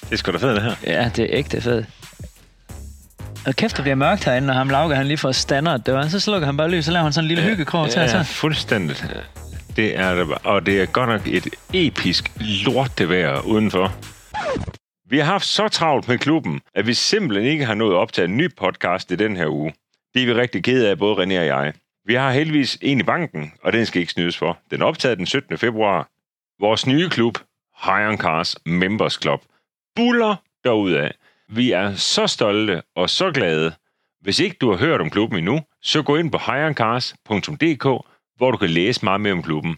Det er sgu da fedt, det her. Ja, det er ægte fedt. Og kæft, det bliver mørkt herinde, når ham Lauke, han lige får standard. Det var, så slukker han bare lys, så laver han sådan en lille hyggekrog til. ja, og ja, Så. fuldstændigt. Det er det, bare. og det er godt nok et episk lortevejr udenfor. Vi har haft så travlt med klubben, at vi simpelthen ikke har nået at optage en ny podcast i den her uge. Det er vi rigtig kede af, både René og jeg. Vi har heldigvis en i banken, og den skal ikke snydes for. Den er optaget den 17. februar. Vores nye klub, High on Cars Members Club, buller derudad. Vi er så stolte og så glade, hvis ikke du har hørt om klubben endnu, så gå ind på hirencars.dk, hvor du kan læse meget mere om klubben.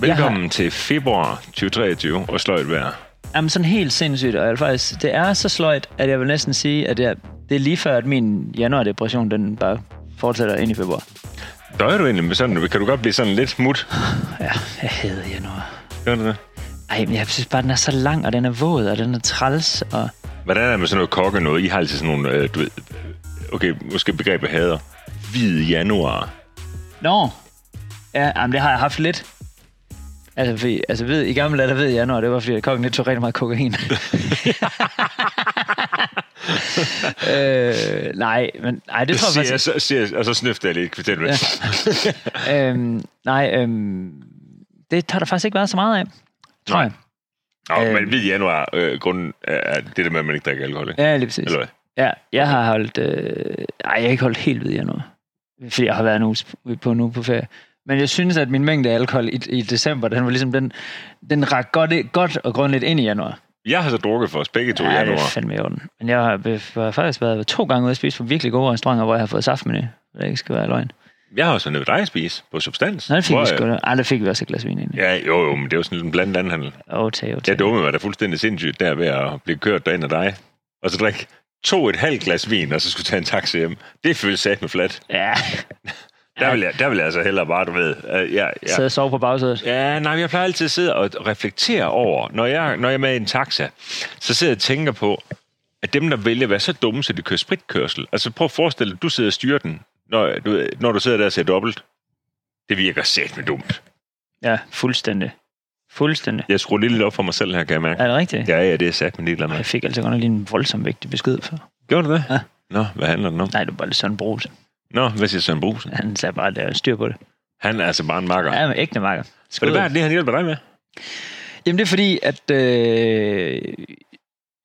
Velkommen til februar 2023 og sløjt vejr. Jamen sådan helt sindssygt, og jeg vil faktisk, det er så sløjt, at jeg vil næsten sige, at jeg, det er lige før, at min januardepression, den bare fortsætter ind i februar. Døjer du egentlig med sådan noget? Kan du godt blive sådan lidt smut? Ja, jeg hader januar. Gør du det? Ej, men jeg synes bare, den er så lang, og den er våd, og den er træls, og... Hvordan er det med sådan noget kokke noget? I har altid sådan nogle, øh, du ved, øh, okay, måske begrebet hader. Hvid januar. Nå. Ja, jamen, det har jeg haft lidt. Altså, fordi, altså ved, i gamle dage, der ved jeg, når det var, fordi kongen lidt tog rigtig meget kokain. øh, nej, men nej, det tror jeg Siger, jeg, faktisk... så, siger, jeg- og så snøfter jeg lidt. Kvartal, ja. Øhm, nej, øhm, det har der faktisk ikke været så meget af, tror Nej. jeg. Nå, Øhm. men hvid januar, øh, grunden er det der med, at man ikke drikker alkohol, ikke? Ja, lige præcis. Eller hvad? Ja, jeg har holdt... Øh, ej, jeg har ikke holdt helt ved nu. Fordi jeg har været en uge sp- på nu på ferie. Men jeg synes, at min mængde af alkohol i, i december, den var ligesom den, den rak godt, godt og grundligt ind i januar. Jeg har så drukket for os begge to i Ja, det er januar. fandme i orden. Men jeg har, be- har faktisk været to gange ude at spise på virkelig gode restauranter, hvor jeg har fået saftmenu. Det ikke skal være løgn. Jeg har også været nede ved dig at spise på Substans. Så det fik Hvor, vi øh, sgu da. Ej, der fik vi også et glas vin ind. i. Ja, jo, jo, men det er jo sådan lidt en blandet anhandel. Okay, okay. Jeg dummede mig da fuldstændig sindssygt der ved at blive kørt derind af dig. Og så drikke to et halvt glas vin, og så skulle tage en taxi hjem. Det føles sat med flat. Ja, Der vil, jeg, der vil jeg altså hellere bare, du ved. øh, ja, ja. sad og sov på bagsædet. Ja, nej, men jeg plejer altid at sidde og reflektere over, når jeg, når jeg er med i en taxa, så sidder jeg og tænker på, at dem, der vælger at være så dumme, så de kører spritkørsel. Altså prøv at forestille dig, at du sidder og styrer den, når du, ved, når du sidder der og ser dobbelt. Det virker sæt med dumt. Ja, fuldstændig. Fuldstændig. Jeg skruer lige lidt op for mig selv her, kan jeg mærke. Er det rigtigt? Ja, ja, det er sat med lidt eller Jeg andet. fik altså godt nok lige en voldsom vigtig besked for. Gjorde du det? Ja. Nå, hvad handler den om? Nej, det var bare lidt sådan brus. Nå, hvad siger Søren Brusen? Han sagde bare, at der er styr på det. Han er altså bare en makker. Ja, Ja, men ægte makker. er Skud. det værd, det han hjælper dig med? Jamen, det er fordi, at øh,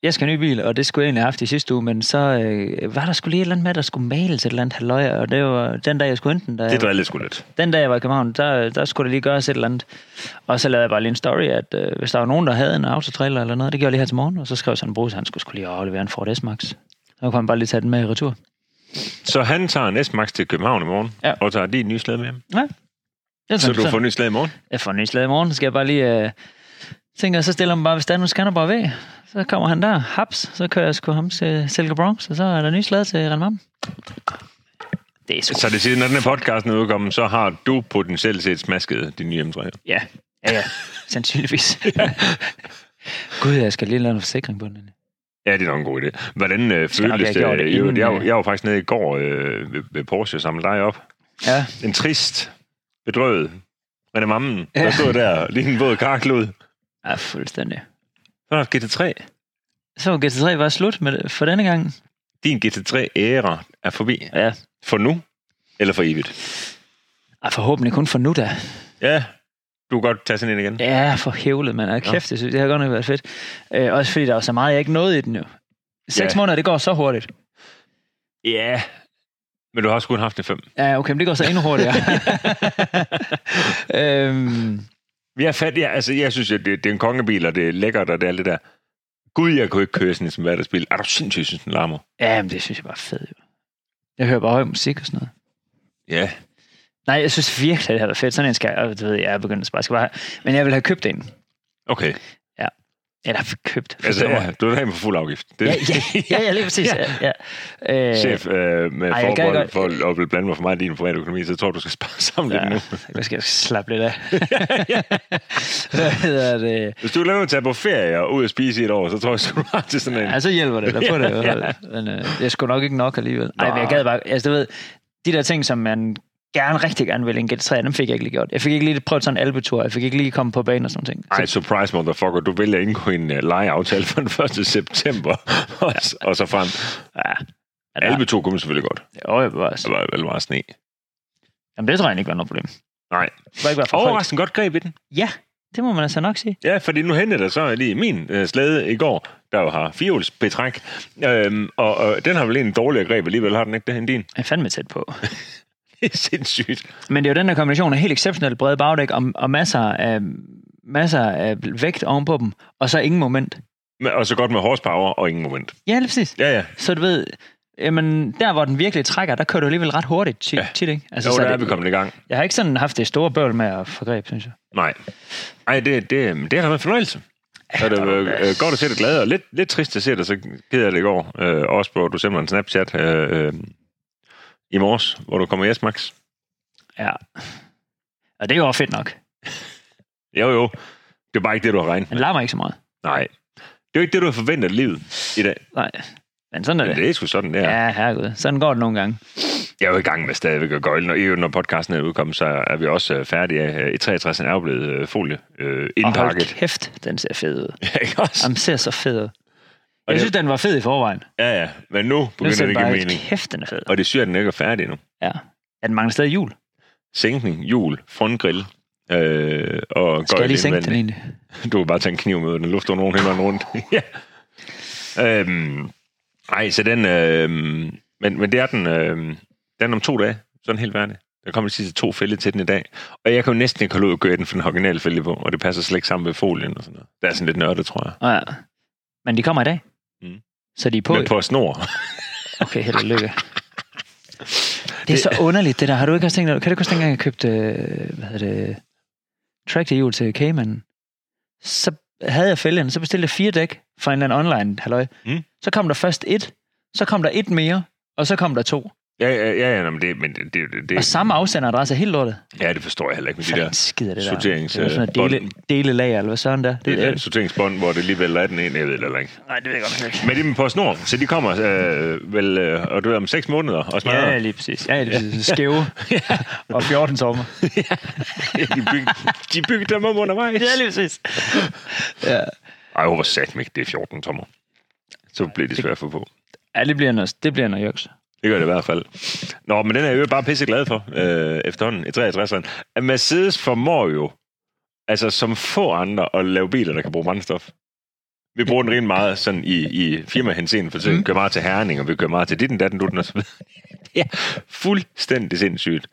jeg skal have en ny bil, og det skulle jeg egentlig have haft i sidste uge, men så øh, var der skulle lige et eller andet med, at der skulle males et eller andet halvøj, og det var den dag, jeg skulle hente den. Der, Det driller sgu lidt. den dag, jeg var i København, der, der skulle det lige gøres et eller andet. Og så lavede jeg bare lige en story, at øh, hvis der var nogen, der havde en autotrailer eller noget, det gjorde jeg lige her til morgen, og så skrev sådan en brug, han skulle, skulle lige aflevere en Ford S-Max. Så kunne han bare lige tage den med i retur. Så han tager en S-Max til København i morgen, Ja. og tager din nye slæde med ham. Ja. Det er Så sådan, du får en ny slæde i morgen? Jeg får en ny slag i morgen, så skal jeg bare lige... Øh, tænker, så stiller man bare ved Stanus Skanderborg ved. Så kommer han der, haps, så kører jeg sgu ham til Silke Bronx, og så er der ny slag til Renmam. Det er sgu... Så det siger, når den her podcast er udkommet, så har du potentielt set smasket din nye M3. Ja, ja, ja. Sandsynligvis. Gud, jeg skal lige lave en forsikring på den. Ja, det er nok en god idé. Hvordan øh, Skal nok føles have det? gjort det Øh, i øvrigt? Jeg, inden, var- jeg var faktisk nede i går øh, ved, ved Porsche og samlede dig op. Ja, En trist, bedrøvet René Mammen, der Ja. stod der lige en våd karklud. ja fuldstændig. Så er der GT3. Så var GT3 bare slut med, for denne gang. Din GT3-æra er forbi. Ja, For nu? Eller for evigt? Ej, forhåbentlig kun for nu da. Ja, du kan godt tage sådan en igen. Ja, for hævlet, man. Og kæft, det, synes- det har godt nok været fedt. Øh, også fordi der var så meget, jeg ikke nåede i den jo. Seks Ja. måneder, det går så hurtigt. Ja. Men du har også kun haft en fem. Ja, okay, men det går så endnu hurtigere. øhm, Vi er fat, ja, altså, jeg synes, at det, det, er en kongebil, og det er lækkert, og det er alt det der. Gud, jeg kunne ikke køre sådan en som hverdagsbil. Er du sindssygt, synes den larmer? ja, men det synes jeg bare er fedt. Jo. Jeg hører bare høj musik og sådan noget. Ja. Nej, jeg synes virkelig, det har været fedt. Sådan en skal jeg, og du ved, jeg er begyndt at bare skal bare have- Men jeg vil have købt en. Okay. Eller købt. Altså, forstår ja, jeg. du er derhen på fuld afgift. Det, ja, ja, ja, ja, lige præcis. Ja, ja. Øh, Chef, øh, med Ej, Ej, jeg gad forbehold godt- for at blive blandet mig for meget i din private økonomi, så jeg tror du skal spare sammen lidt Ja, nu. jeg skal slappe lidt af. Hvad hedder det? Hvis du lader at tage på ferie og ud og spise i et år, så tror jeg, at du har til sådan en. Ja, så hjælper det da på altså, det. i hvert fald. Men øh, jeg skulle nok ikke nok alligevel. Nej, men jeg gad bare... Altså, du ved, de der ting, som man gerne, rigtig gerne ville en GT3, dem fik jeg ikke lige gjort. Jeg fik ikke lige prøvet sådan en albetur, jeg fik ikke lige komme på banen og sådan ting. Ej, surprise motherfucker, du vælger ikke en uh, lejeaftale for den 1. september, og, s- og så frem. ja, ja, der, Alpe 2 kunne man selvfølgelig godt. Jo, jeg var Der også. var vel meget sne. Jamen, det tror jeg ikke var noget problem. Nej. Det var ikke være for højt. Overraskende godt greb i den. Ja, det må man altså nok sige. Ja, fordi nu hentede der så lige min øh, slæde i går, der jo har firehjulsbetræk. Øhm, og øh, den har vel en dårligere greb alligevel, har den ikke det end din? Jeg er fandme tæt på. Det er sindssygt. Men det er jo den der kombination af helt exceptionelt brede bagdæk og, og masser af masser af vægt ovenpå dem, og så ingen moment. Men- Og så godt med horsepower og ingen moment. Ja, lige præcis. Ja, ja. Så du ved, jamen, der hvor den virkelig trækker, der kører du alligevel ret hurtigt tit, Ja. ja. tit ikke? Altså, Jo, så der er vi det, kommet i gang. jeg har ikke sådan haft det store bøvl med at få greb, synes jeg. Nej. Ej, det, det, det har været en fornøjelse. Så er det øh, øh, godt at se dig glad, og lidt, lidt trist at se dig så ked af det i går. Øh, også på, du sendte mig en Snapchat øh, øh, i morges, hvor du kommer i Max. Ja. Og det er jo også fedt nok. Jo, jo. Det er bare ikke det, du har regnet. Den larmer ikke så meget. Nej. Det er jo ikke det, du har forventet af livet i dag. Nej. Men sådan er Men det. det er sgu sådan, det er. Ja, herregud. Sådan går det nogle gange. Jeg er jo i gang med stadigvæk at gøjle. Når, i øvrigt, når podcasten er udkommet, så er vi også øh, færdige. Øh, I 63 er jo blevet øh, folie øh, Og hold indpakket. kæft, den ser fed ud. Ja, ikke også? Den ser så fed ud. det- Jeg synes, den var fed i forvejen. Ja, ja. Men nu Nu begynder ser det den ikke at bare give mening. mening. kæft, den er fed. Og det syr, den ikke er færdig endnu. Ja. ja den mangler stadig jul. Sænkning, hjul, frontgrill øh, og Skal jeg lige sænke den indvendigt. egentlig? Du kan bare tage en kniv med, og den lufter nogen hen og rundt. ja. Øhm, ej, så den... Øh, men, men det er den, øh, den er om to dage. Så er den helt færdig. Der kommer de sidste to fælde til den i dag. Og jeg kan jo næsten ikke holde ud at gøre den for den originale fælde på, og det passer slet ikke sammen med folien og sådan noget. Det er sådan lidt nørdet, tror jeg. Ja. Men de kommer i dag. Mm. Så de er på. På, men på snor. Okay, held og lykke. Det er så underligt, det der. Har du ikke også tænkt, kan du ikke også tænke, at jeg købte, øh, hvad hedder det, track hjul til Cayman? Så havde jeg fælgen, så bestilte jeg fire dæk fra en eller anden online, halløj. Mm. Så kom der først et, så kom der et mere, og så kom der to. ja, ja, ja, ja nå, men det... Men det, det, Og det samme afsenderadresse er helt lortet. ja, det forstår jeg heller ikke med de Fanden der skider det der. sorterings- Det er sådan bånd. noget dele, delelager, eller hvad sådan der. det der sorteringsbånd, hvor det alligevel er den ene, jeg ved det heller ikke. Nej, det ved jeg godt nok ikke. Men det er på snor, så de kommer øh, vel, øh, og du er om seks måneder og smadrer. Ja, lige præcis. Ja, lige præcis. Skæve. og 14 sommer. de, byg, de byggede dem om undervejs. Ja, lige præcis. Ja. Ej, jeg håber satme ikke, det er 14 tommer. Så bliver det svært at få på. Ja, det bliver noget, det bliver noget juks. Det gør det i hvert fald. Nå, men den er jeg jo bare pisse glad for øh, efterhånden i 63'eren. At Mercedes formår jo, altså som få andre, at lave biler, der kan bruge brændstof. Vi bruger den rent meget sådan i, i firmahenseende, for Mm. eksempel. Vi kører meget til Herning, og vi kører meget til dit, datten, dutten og så videre. Ja, fuldstændig sindssygt.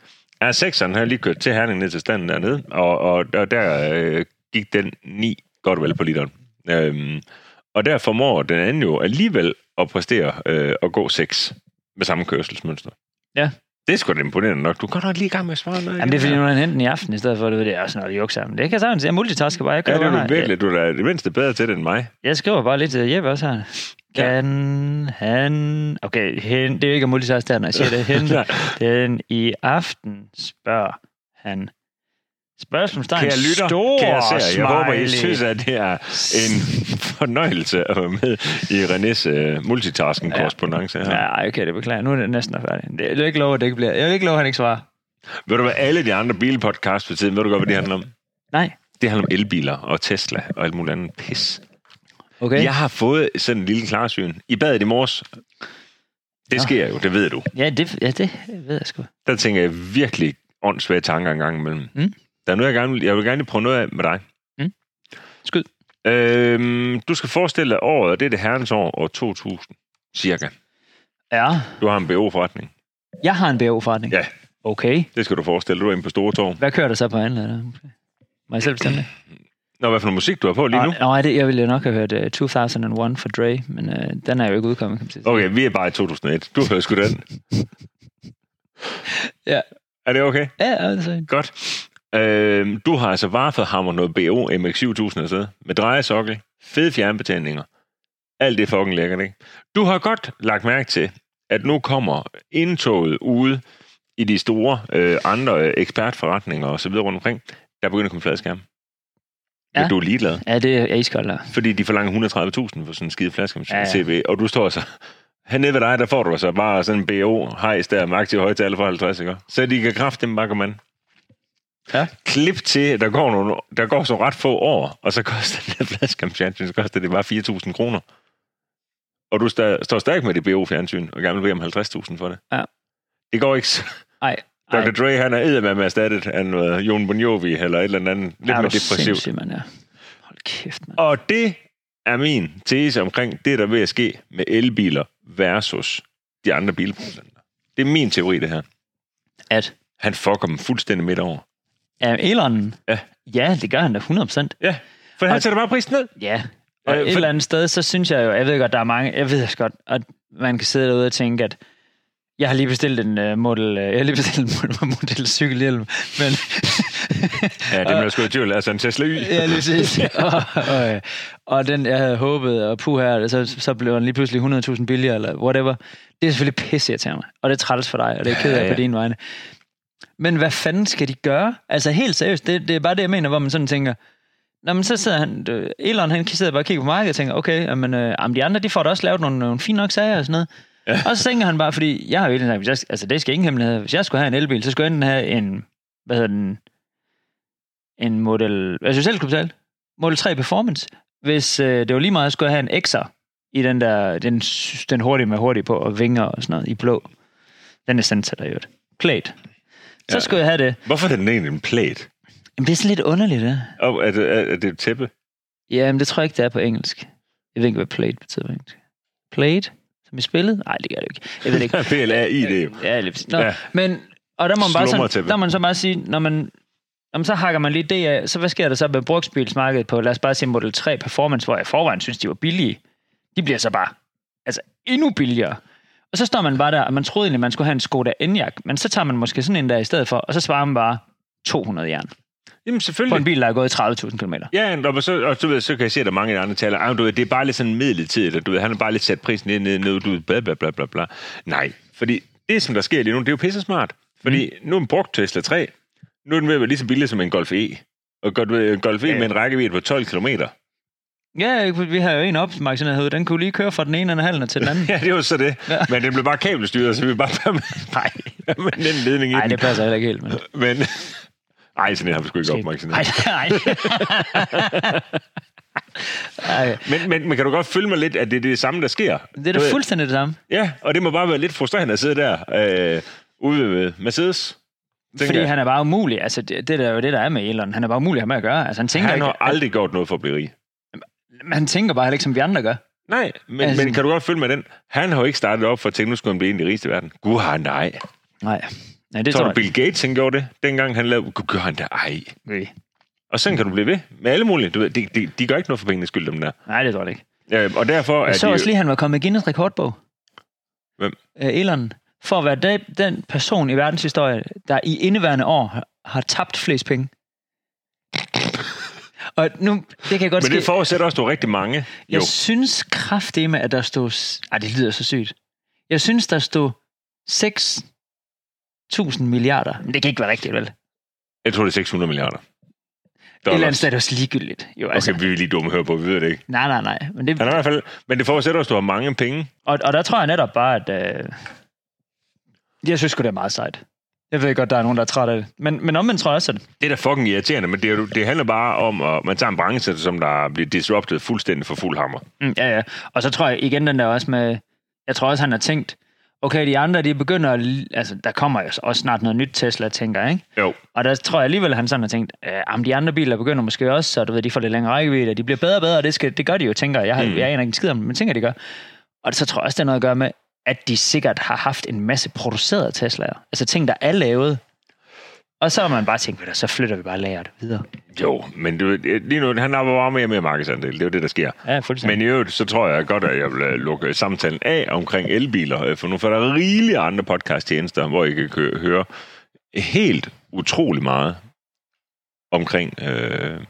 R6'eren har lige kørt til Herning ned til standen dernede, og, og, og der øh, gik den 9 godt og vel på literen. Øhm, og der formår den anden jo alligevel at præstere øh, og gå 6 med samme kørselsmønster. Ja. Det er sgu da imponerende nok. Du går nok lige i gang med at svare noget. Jamen, det er igen. fordi, nu har han hentet den i aften, i stedet for, at det er også noget juks sammen. Det kan jeg sagtens. Jeg multitasker bare. Jeg, Ja, kører det er bare. du virkelig. Du er da det mindste bedre til det end mig. Jeg, jeg skriver bare lidt til Jeppe også her. Kan han... Okay, hen, det er jo ikke at multitaske der, når jeg siger det. Hente den i aften, spørger han. Spørgsmålstegn. Kære lytter, Stor kære seer, jeg håber, I smiley. synes, at det er en fornøjelse at være med i Renés uh, multitasking-korrespondence her. Ja. Ja, ej, okay, det beklager. jeg. Nu er det næsten færdigt. Det- Jeg vil ikke love, at det ikke bliver... Jeg vil ikke love, at han ikke svarer. Ved du hvad, alle de andre bilpodcasts for tiden, ved du godt, hvad det handler om? Nej. Det handler om elbiler og Tesla og alt muligt andet pis. Okay. Jeg har fået sådan en lille klarsyn i badet i morges. Det sker jo, det ved du. Ja, det, ja, det ved jeg sgu. der tænker jeg virkelig åndssvage tanker en gang imellem. Mm. Der er noget, jeg gerne vil, jeg vil gerne lige prøve noget af med dig. Mm. Skyd. Øhm, du skal forestille dig året, og det er det herrens år, år 2000, cirka. Ja, Du har en BO-forretning. jeg har en BO-forretning. Ja. Okay. Det skal du forestille dig. Du er inde på Storetorv. Hvad kører der så på anden leder? Må jeg selv bestemme det? Nå, hvad for noget musik du har på lige nu? Nå, nej, det, jeg ville jo nok have hørt uh, 2001 for Dre, men uh, den er jo ikke udkommet, kan man sige. Okay, vi er bare i 2001. Du hører sgu den. Ja. Er det okay? Ja, altså. Godt. Øhm, du har altså vareforhammer noget BO MX7000 og sådan med drejesokkel, fede fjernbetændinger. Alt det er fucking lækkert, ikke? Du har godt lagt mærke til, at nu kommer indtoget ude i de store øh, andre øh, ekspertforretninger og så videre rundt omkring, der begynder at komme fladskærm. Ja. Ja. Men du er ligeglad, Ja, det er iskoldt der. fordi de forlanger 130.000 for sådan en skide fladskærm Ja, ja. TV, og du står så Hernede ved dig, der får du så bare sådan en BO-hejs der med aktiv højtaler for 50, ikke? Så de kan kraftigt makke mand. Ja. Klip til, at der går, nogle, der går så ret få år, og så koster den der flaske om fjernsyn, så koster det bare 4.000 kroner. Og du sta- står stærk med det BO-fjernsyn, og gerne vil bede om 50.000 for det. Ja. Det går ikke. så- Ej, ej. Dr. Dre, han er eddermame erstattet af noget Jon Bon Jovi, eller et eller andet lidt er mere du depressivt. sindssyg, man er. Hold kæft, man. Og det er min tese omkring det, der er ved at ske med elbiler versus de andre bilproducenter. Det er min teori, det her. At Han fucker dem fuldstændig midt over. um, Elon, Ja. ja, det gør han da 100%. Ja, for han Og- sætter bare prisen ned. Ja, og Øh, øh, for- et eller andet sted, så synes jeg jo, jeg ved godt, der er mange, jeg ved også godt, at man kan sidde derude og tænke, at jeg har lige bestilt en uh, model, uh, jeg har lige bestilt en model, model cykelhjelm, men... Ja, det er man sgu i tvivl. Altså en Tesla Y. ja, lige præcis. og, og, øh, og, den, jeg havde håbet, og puh her, så, så blev den lige pludselig 100.000 billigere, eller whatever. Det er selvfølgelig pisse til mig, og det er træls for dig, og det er jeg ked af Ja, ja, ja. ja. på din vegne. Men hvad fanden skal de gøre? Altså helt seriøst, det, det er bare det, jeg mener, hvor man sådan tænker, Nå, men så sidder han, øh, Elon, han sidder bare og kigger på markedet og tænker, okay, jamen, øh, jamen, de andre, de får da også lavet nogle, nogle fine nok sager og sådan noget. Ja. Og så tænker han bare, fordi jeg har jo egentlig sagt, hvis jeg, altså det skal ingen hemmelighed. Hvis jeg skulle have en elbil, så skulle jeg enten have en, hvad hedder den, en Model, altså jeg selv skulle betale, Model 3 Performance. Hvis øh, det var lige meget, så skulle jeg have en X'er i den der, den, s- den hurtige med hurtig på, og vinger og sådan noget, i blå. Den er sensor, jo. Klædt. Så Ja. ja. skulle jeg have det. Hvorfor er den egentlig en plæt? Jamen, det er sådan lidt underligt, det. Og er det, er, er det et tæppe? Ja, men det tror jeg ikke, det er på engelsk. Jeg ved ikke, hvad played betyder på engelsk. Played? Som i spillet? Nej, det gør det ikke. Jeg ved det ikke. PLA-ID. Ja, lige præcis. Nå, Ja. ja. Men, og der må man, bare sådan, Slumretæppe. der må man så bare sige, når man, når man så hakker man lige det af, så hvad sker der så med brugsbilsmarkedet på, lad os bare sige Model 3 Performance, hvor jeg i forvejen synes, de var billige. De bliver så bare altså, endnu billigere. Og så står man bare der, og man troede egentlig, man skulle have en Skoda Enyaq, men så tager man måske sådan en der i stedet for, og så svarer man bare 200 jern Jamen på en selvfølgelig. bil, der er gået 30.000 km. Ja, nå, men så, og så, ved, jeg, så kan jeg se, at der er mange af de andre taler. Ah, men du ved, det er bare lidt sådan midlertidigt, og du ved, han har bare lidt sat prisen ned, ned, ned, du ved, bla, bla, bla, bla, bla. Nej, fordi det, som der sker lige nu, det er jo pisse smart. Fordi mm. nu er en brugt Tesla 3, nu er den ved at være lige så billig som en Golf E. Og godt, ved, en Golf E Ja. med en rækkevidde på 12 km. Ja, vi har jo en opmærksomhed herude. Den kunne lige køre fra den ene ende af halen til den anden. Ja, det var så det. Ja. Ja. Men den blev bare kabelstyret, så vi bare Nej. med den ledning i Nej, den. det passer heller ikke helt. Men... Men... Ej, sådan en har vi sgu ikke opmærksomhed. Nej, nej. Ej, Men, men, men kan du godt følge mig lidt, at det er det samme, der sker? det er Du da ved- fuldstændig det samme. Ja, og det må bare være lidt frustrerende at sidde der øh, ude ved Mercedes. tænker Fordi jeg. han er bare umulig. Altså, det, det er jo det, der er med Elon. Han er bare umulig at have med at gøre. Altså, han tænker, han ikke, har aldrig gjort noget for at blive rig. han, han tænker bare heller ikke, som vi andre gør. Nej, men, altså, Altså- men kan du godt følge med den? Han har jo ikke startet op for at tænke, nu skulle han blive en af de rigeste i verden. Gud, har nej. Nej, nej det Tror, tror, du, Bill Gates han gjorde det, dengang han lavede... Gud, gør han da ej. jeg ikke. Og sådan kan du blive ved med alle mulige. Du ved, de, de, de gør ikke noget for pengene skyld, dem der. Nej, det tror jeg ikke. Ja, og derfor er Jeg så de... også lige, at han var kommet i Guinness rekordbog. Hvem? Øh, Elon. For at være den- den person i verdenshistorien, der i indeværende år har- har tabt flest penge. Og nu, det kan godt men ske. det forudsætter også, at du er rigtig mange. Jo. Jeg synes kraftedeme, at der stod... s- Ej, det lyder så sygt. Jeg synes, der stod 6.000 milliarder. Men det kan ikke være rigtigt, vel? Et Jeg tror, det er 600 milliarder. eller andet Dollars. sted er det også ligegyldigt. Jo, altså, Okay, vi er lige dumme at høre på, vi ved det ikke. Nej, nej, nej. Men det, Han er i hvert fald, men det forudsætter også, at du har mange penge. og, og der tror jeg netop bare, at... Øh, jeg synes sgu, det er meget sejt. Jeg ved godt, der er nogen, der er træt af det. Men, men omvendt tror jeg også, at... Det er da fucking irriterende, men det, er, jo- det handler bare om, at man tager en branche, som der bliver disrupted fuldstændig for fuld hammer. Mm, ja, ja. Og så tror jeg igen, den der også med... Jeg tror også, han har tænkt... Okay, de andre, de begynder at... li- Altså, der kommer jo også snart noget nyt Tesla, tænker jeg, ikke? Jo. Og der tror jeg alligevel, at han sådan har tænkt, at de andre biler begynder måske også, så du ved, de får lidt længere rækkevidde, og de bliver bedre og bedre, og det, skal, det gør de jo, tænker jeg. Jeg, har, Mm. mm. jeg aner ikke en skid om det, men tænker, de gør. Og så tror jeg også, det har noget at gøre med, at de sikkert har haft en masse producerede Tesla'er. Altså ting, der er lavet. Og så har man bare tænkt, ved du, så flytter vi bare lageret videre. Jo, men du, ved, lige nu, han har bare mere og mere markedsandel. Det er jo det, der sker. Ja, fuldstændig. Men i øvrigt, så tror jeg godt, at jeg vil øh, lukke samtalen af omkring elbiler, øh, for nu får der rigelige andre podcasttjenester, hvor I kan kø- høre helt utrolig meget omkring øh,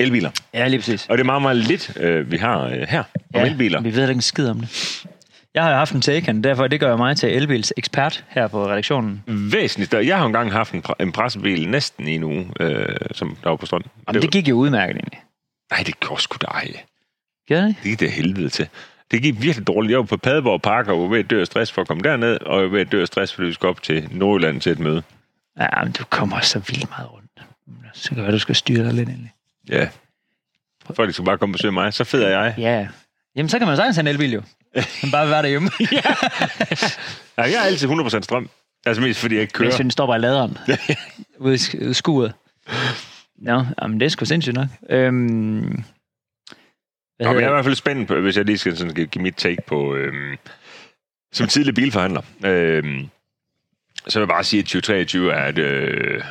elbiler. ja, lige præcis. Og det er meget, meget lidt, øh, vi har øh, her om ja. elbiler. Vi ved da ikke en skid om det. Jeg har jo haft en Taycan, derfor det gør jeg mig til elbils ekspert her på redaktionen. væsentligt større. Jeg har jo engang haft en, pre- en pressebil næsten i en uge, øh, som der var på strømmen. Jamen, det gik jo udmærket egentlig. Nej, det gjorde sgu da ej. Gør det? ikke? Det gik det helvede til. Det Det gik virkelig dårligt. Jeg var på Padborg Park og var ved at dø af stress for at komme derned, og jeg var ved at dø af stress, fordi vi skulle op til Nordjylland til et møde. Ja, men du kommer så vildt meget rundt. Så kan det være, du skal styre dig lidt endelig. Ja. Folk skal bare komme og besøge mig. Så fed er jeg. Ja. Jamen, så kan man sagtens have en elbil jo. Men bare være derhjemme. Ja, jeg er altid 100% strøm. Altså mest fordi jeg ikke kører. Hvis den stopper i laderen. ude i sk- ude i skuret. Nå, jamen, det er sgu sindssygt nok. Øhm, Nå, men hvad jeg er i hedder det? hvert fald spændt, på, hvis jeg lige skal sådan, give mit take på... Øhm, som tidlig bilforhandler, øhm, så vil jeg bare sige, at 2023 er et... Øh,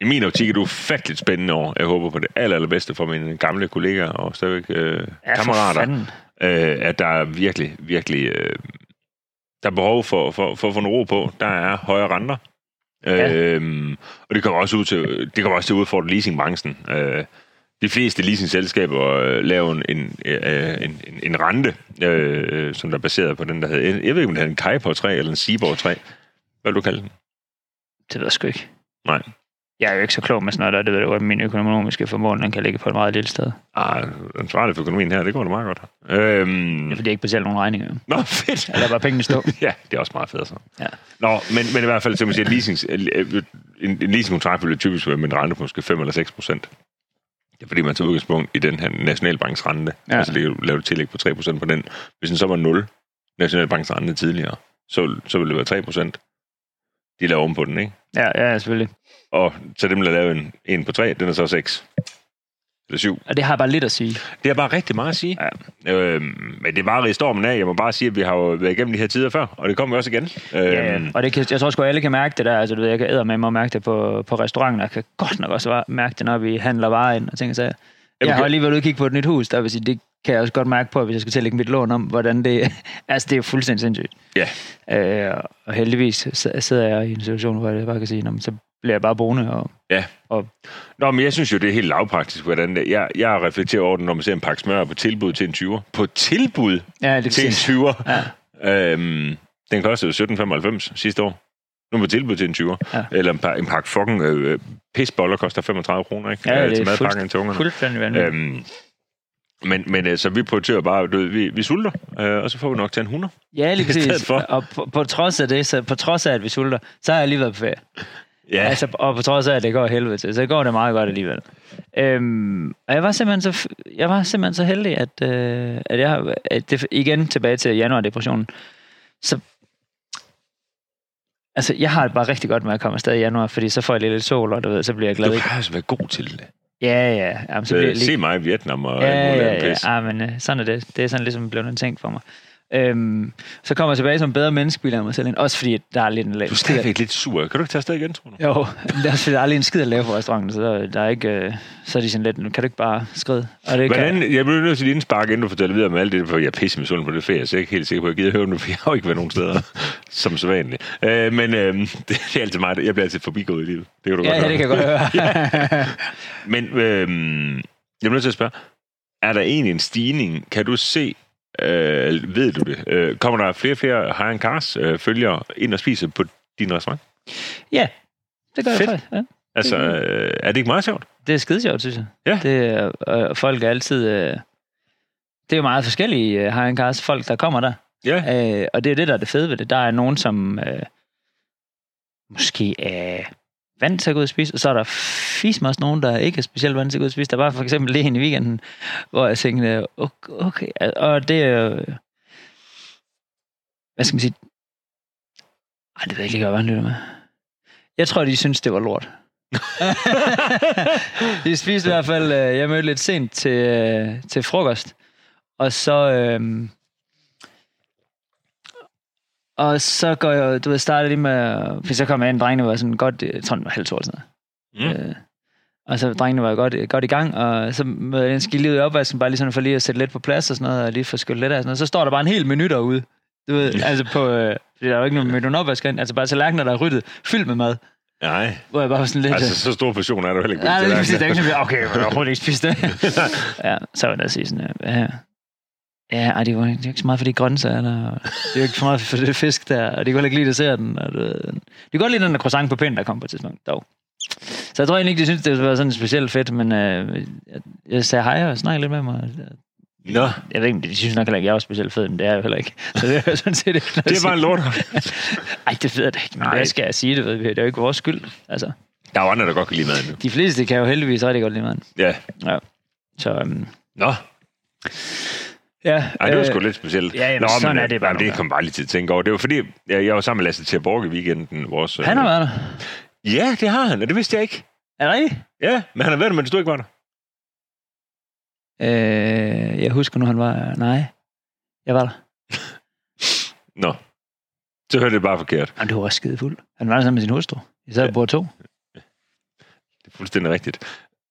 I min optik er det ufatteligt spændende år. Jeg håber på det aller, allerbedste for mine gamle kollegaer og stadigvæk øh, Ja, for kammerater. fanden. øh, at der er virkelig, virkelig... Øh, der er behov for, for, for at få en ro på. Der er højere renter. Ja. Øhm, og det kommer også ud til, det kommer også til at udfordre leasingbranchen. Øh, de fleste leasingselskaber øh, laver en, en, øh, en, en, en rente, øh, som der er baseret på den, der hedder... Jeg ved ikke, om det er en Kajpor 3 eller en Seaborg 3. Hvad vil du kalde den? Det ved jeg sgu ikke. Nej. Jeg er jo ikke så klog med sådan noget, der. det ved jeg godt. Min økonomiske formål, den kan ligge på et meget lille sted. Ah, ansvarlig for økonomien her, det går da meget godt. Øhm, Det er fordi, jeg ikke betaler nogen regninger. nå, fedt! Eller bare pengene stå. Ja, det er også meget fedt så. Ja. Nå, men, men i hvert fald, som man siger, leasings, øh, en, en leasingkontrakt ville typisk være med en rente på måske 5 eller 6 procent. Det er fordi, man tager udgangspunkt i den her Nationalbanks rente. Ja. Ja. Altså, det kan du lave et tillæg på 3 procent på den. Hvis den så var 0, Nationalbanks rente tidligere, så, så ville det være 3 procent. De laver oven på den, ikke? Ja, ja, selvfølgelig. Og så dem, der laver en, en på 3, den er så 6. Eller 7. Og det har jeg bare lidt at sige. Det er bare rigtig meget at sige. Ja. Øhm, men det er bare i stormen af. Jeg må bare sige, at vi har jo været igennem de her tider før, og det kommer vi også igen. Øhm, Øhm. Og det kan, jeg tror sgu, alle kan mærke det der. Altså, du ved, jeg kan æder med mig og mærke det på, på restauranten. Jeg kan godt nok også mærke det, når vi handler varer ind og ting og sager. Jeg har kan- alligevel ude og kigge på et nyt hus, der vil sige, det kan jeg også godt mærke på, hvis jeg skal til at lægge mit lån om, hvordan det... altså, det er jo fuldstændig sindssygt. Ja. Øh, og heldigvis så- sidder jeg i en situation, hvor jeg bare kan sige, "Nå, men så bliver jeg bare boende. Og, Ja. Og- Nå, men jeg synes jo, det er helt lavpraktisk, hvordan det Jeg, jeg reflekterer over det, når man ser en pakke smør på tilbud til en 20'er. På tilbud ja, det er til en sindssygt. 20'er? Ja. Øhm, den kostede jo 17,95 sidste år. Nu er på tilbud til en 20'er. Ja. Eller en, pa- en pakke fucking øh, pisboller koster 35 kroner, ikke? Ja, Øh, det er til madpakken fuldst- til ungerne. Fuldstændig vanvittigt. Øhm, men, men øh, så vi prioriterer bare, du ved, vi, vi sulter, øh, og så får vi nok til en 100. Ja, lige i stedet præcis. for. Og på, på, trods af det, så på trods af, at vi sulter, så har jeg lige været på ferie. Ja, Altså, og på trods af, at det går helvede til, så går det meget godt alligevel. Øhm, og jeg var simpelthen så, f- jeg var simpelthen så heldig, at, øh, at jeg har- at det, igen tilbage til januardepressionen, så Altså, jeg har det bare rigtig godt med at komme afsted i januar, fordi så får jeg lidt, lidt sol, og du ved, så bliver jeg glad. du Ikke? har altså været god til det. Ja, ja. Jamen, så bliver jeg Øh, lige... Se mig i Vietnam og alt Ja, muligt andet ja, ja. pis. Ah, men øh, sådan er det. Det er sådan ligesom blevet en ting for mig. Øhm, så kommer jeg tilbage som bedre menneske, bilder jeg mig selv ind. Også fordi, at der er lidt en lav. Du er stadigvæk lidt sur. Kan du ikke tage afsted igen, tror du? Jo, men der er selvfølgelig aldrig en skid at lave på restauranten, så der, der er ikke, øh, så er de sådan lidt, "Nu kan du ikke bare skride? Og det kan, Hvordan, jeg bliver nødt til din spark, inden du fortæller videre om alt det, for jeg er pisse med sund på det ferie, så jeg er ikke helt sikker på, at jeg gider høre om det, for jeg har jo ikke været nogen steder, som så vanligt. Øh, men øh, det er altid mig, der- jeg bliver altid forbigået i livet. Det kan du ja, godt ja, det kan jeg godt høre. Men øh, jeg bliver nødt til at spørge, er der egentlig en stigning? Kan du se, øh, ved du det, øh, kommer der flere og flere high end cars øh, følgere ind og spiser på din restaurant? ja, det gør jeg Fedt. faktisk. Ja. Altså, øh, er det ikke meget sjovt? Det er skide sjovt, synes jeg. Ja. Det, er- og folk er altid... Øh, det er jo meget forskellige øh, high cars, folk, der kommer der. Ja. Øh, og det er jo det, der er det fede ved det. Der er nogen, som øh, måske er vant til at gå ud og spise, og så er der fisk også nogen, der ikke er specielt vant til at gå ud og spise. Der var for eksempel det i weekenden, hvor jeg tænkte, øh, okay, okay. og det er jo- hvad skal man sige, ej, det ved jeg ikke, lige godt, hvad han lytter med. Jeg tror, de synes, det var lort. de spiste i hvert fald, øh, jeg mødte lidt sent til, øh, til frokost, og så... Øh, og så går jeg, du ved, starter lige med, for så kom jeg ind, drengene var sådan godt, jeg tror, den var halv to eller sådan noget. Mm. Øh, og så drengene var godt, godt i gang, og så møder jeg en skille ud i opvasken, bare lige sådan for lige at sætte lidt på plads og sådan noget, og lige få skyllet lidt af og sådan noget. Så står der bare en hel menu derude, du ved, altså på, øh, fordi der er jo ikke nogen menu, når opvasker ind, altså bare tallerkener, der er ryddet, fyldt med mad, Nej, hvor jeg bare var sådan lidt... altså så stor portion er der heller ikke. på Nej, din det er præcis, tallerken. det er ikke sådan, okay, jeg vil overhovedet ikke spise det. ja, så var der at sige sådan, øh, ja, ja ej, det var det er ikke så meget for de grøntsager, der, og det er jo ikke for meget for det fisk der, og de kunne heller ikke lide desserten. Og det, det kunne godt lide den der croissant på pind, der kom på et tidspunkt, dog. Så jeg tror egentlig ikke, de synes, det var sådan specielt fedt, men øh, jeg, jeg sagde hej og snakkede lidt med mig. og Nå, Jeg ved ikke, om de synes nok heller ikke, jeg er specielt fed, men det er jeg jo heller ikke. Så det er jo sådan set ikke noget at det var sige. en lort. Ej, det ved jeg da ikke, men Nej. hvad skal jeg sige det? Ved vi? Det er jo ikke vores skyld. Altså, Der er jo andre, der godt kan lide maden nu. de fleste kan jo heldigvis rigtig godt lide maden. Ja. Ja. Så, um, Nå, ja. Ej, det var øh, sgu lidt specielt. ja, jamen, sådan er det bare Jamen, nogle det kom bare lige til at tænke over. Det var fordi, jeg, jeg var sammen med Lasse Tjerborg i weekenden. Vores, Han har øh, været der. Ja, det har han, og det vidste jeg ikke. Er det rigtigt? Ja, men han har været der, mens du ikke var der. Øh, jeg husker nu, han var... Nej, jeg var der. Nå. Så hørte det bare forkert. Jamen, det var også skide fuld. Han var der sammen med sin hustru. I sad og bord to. Det er fuldstændig rigtigt.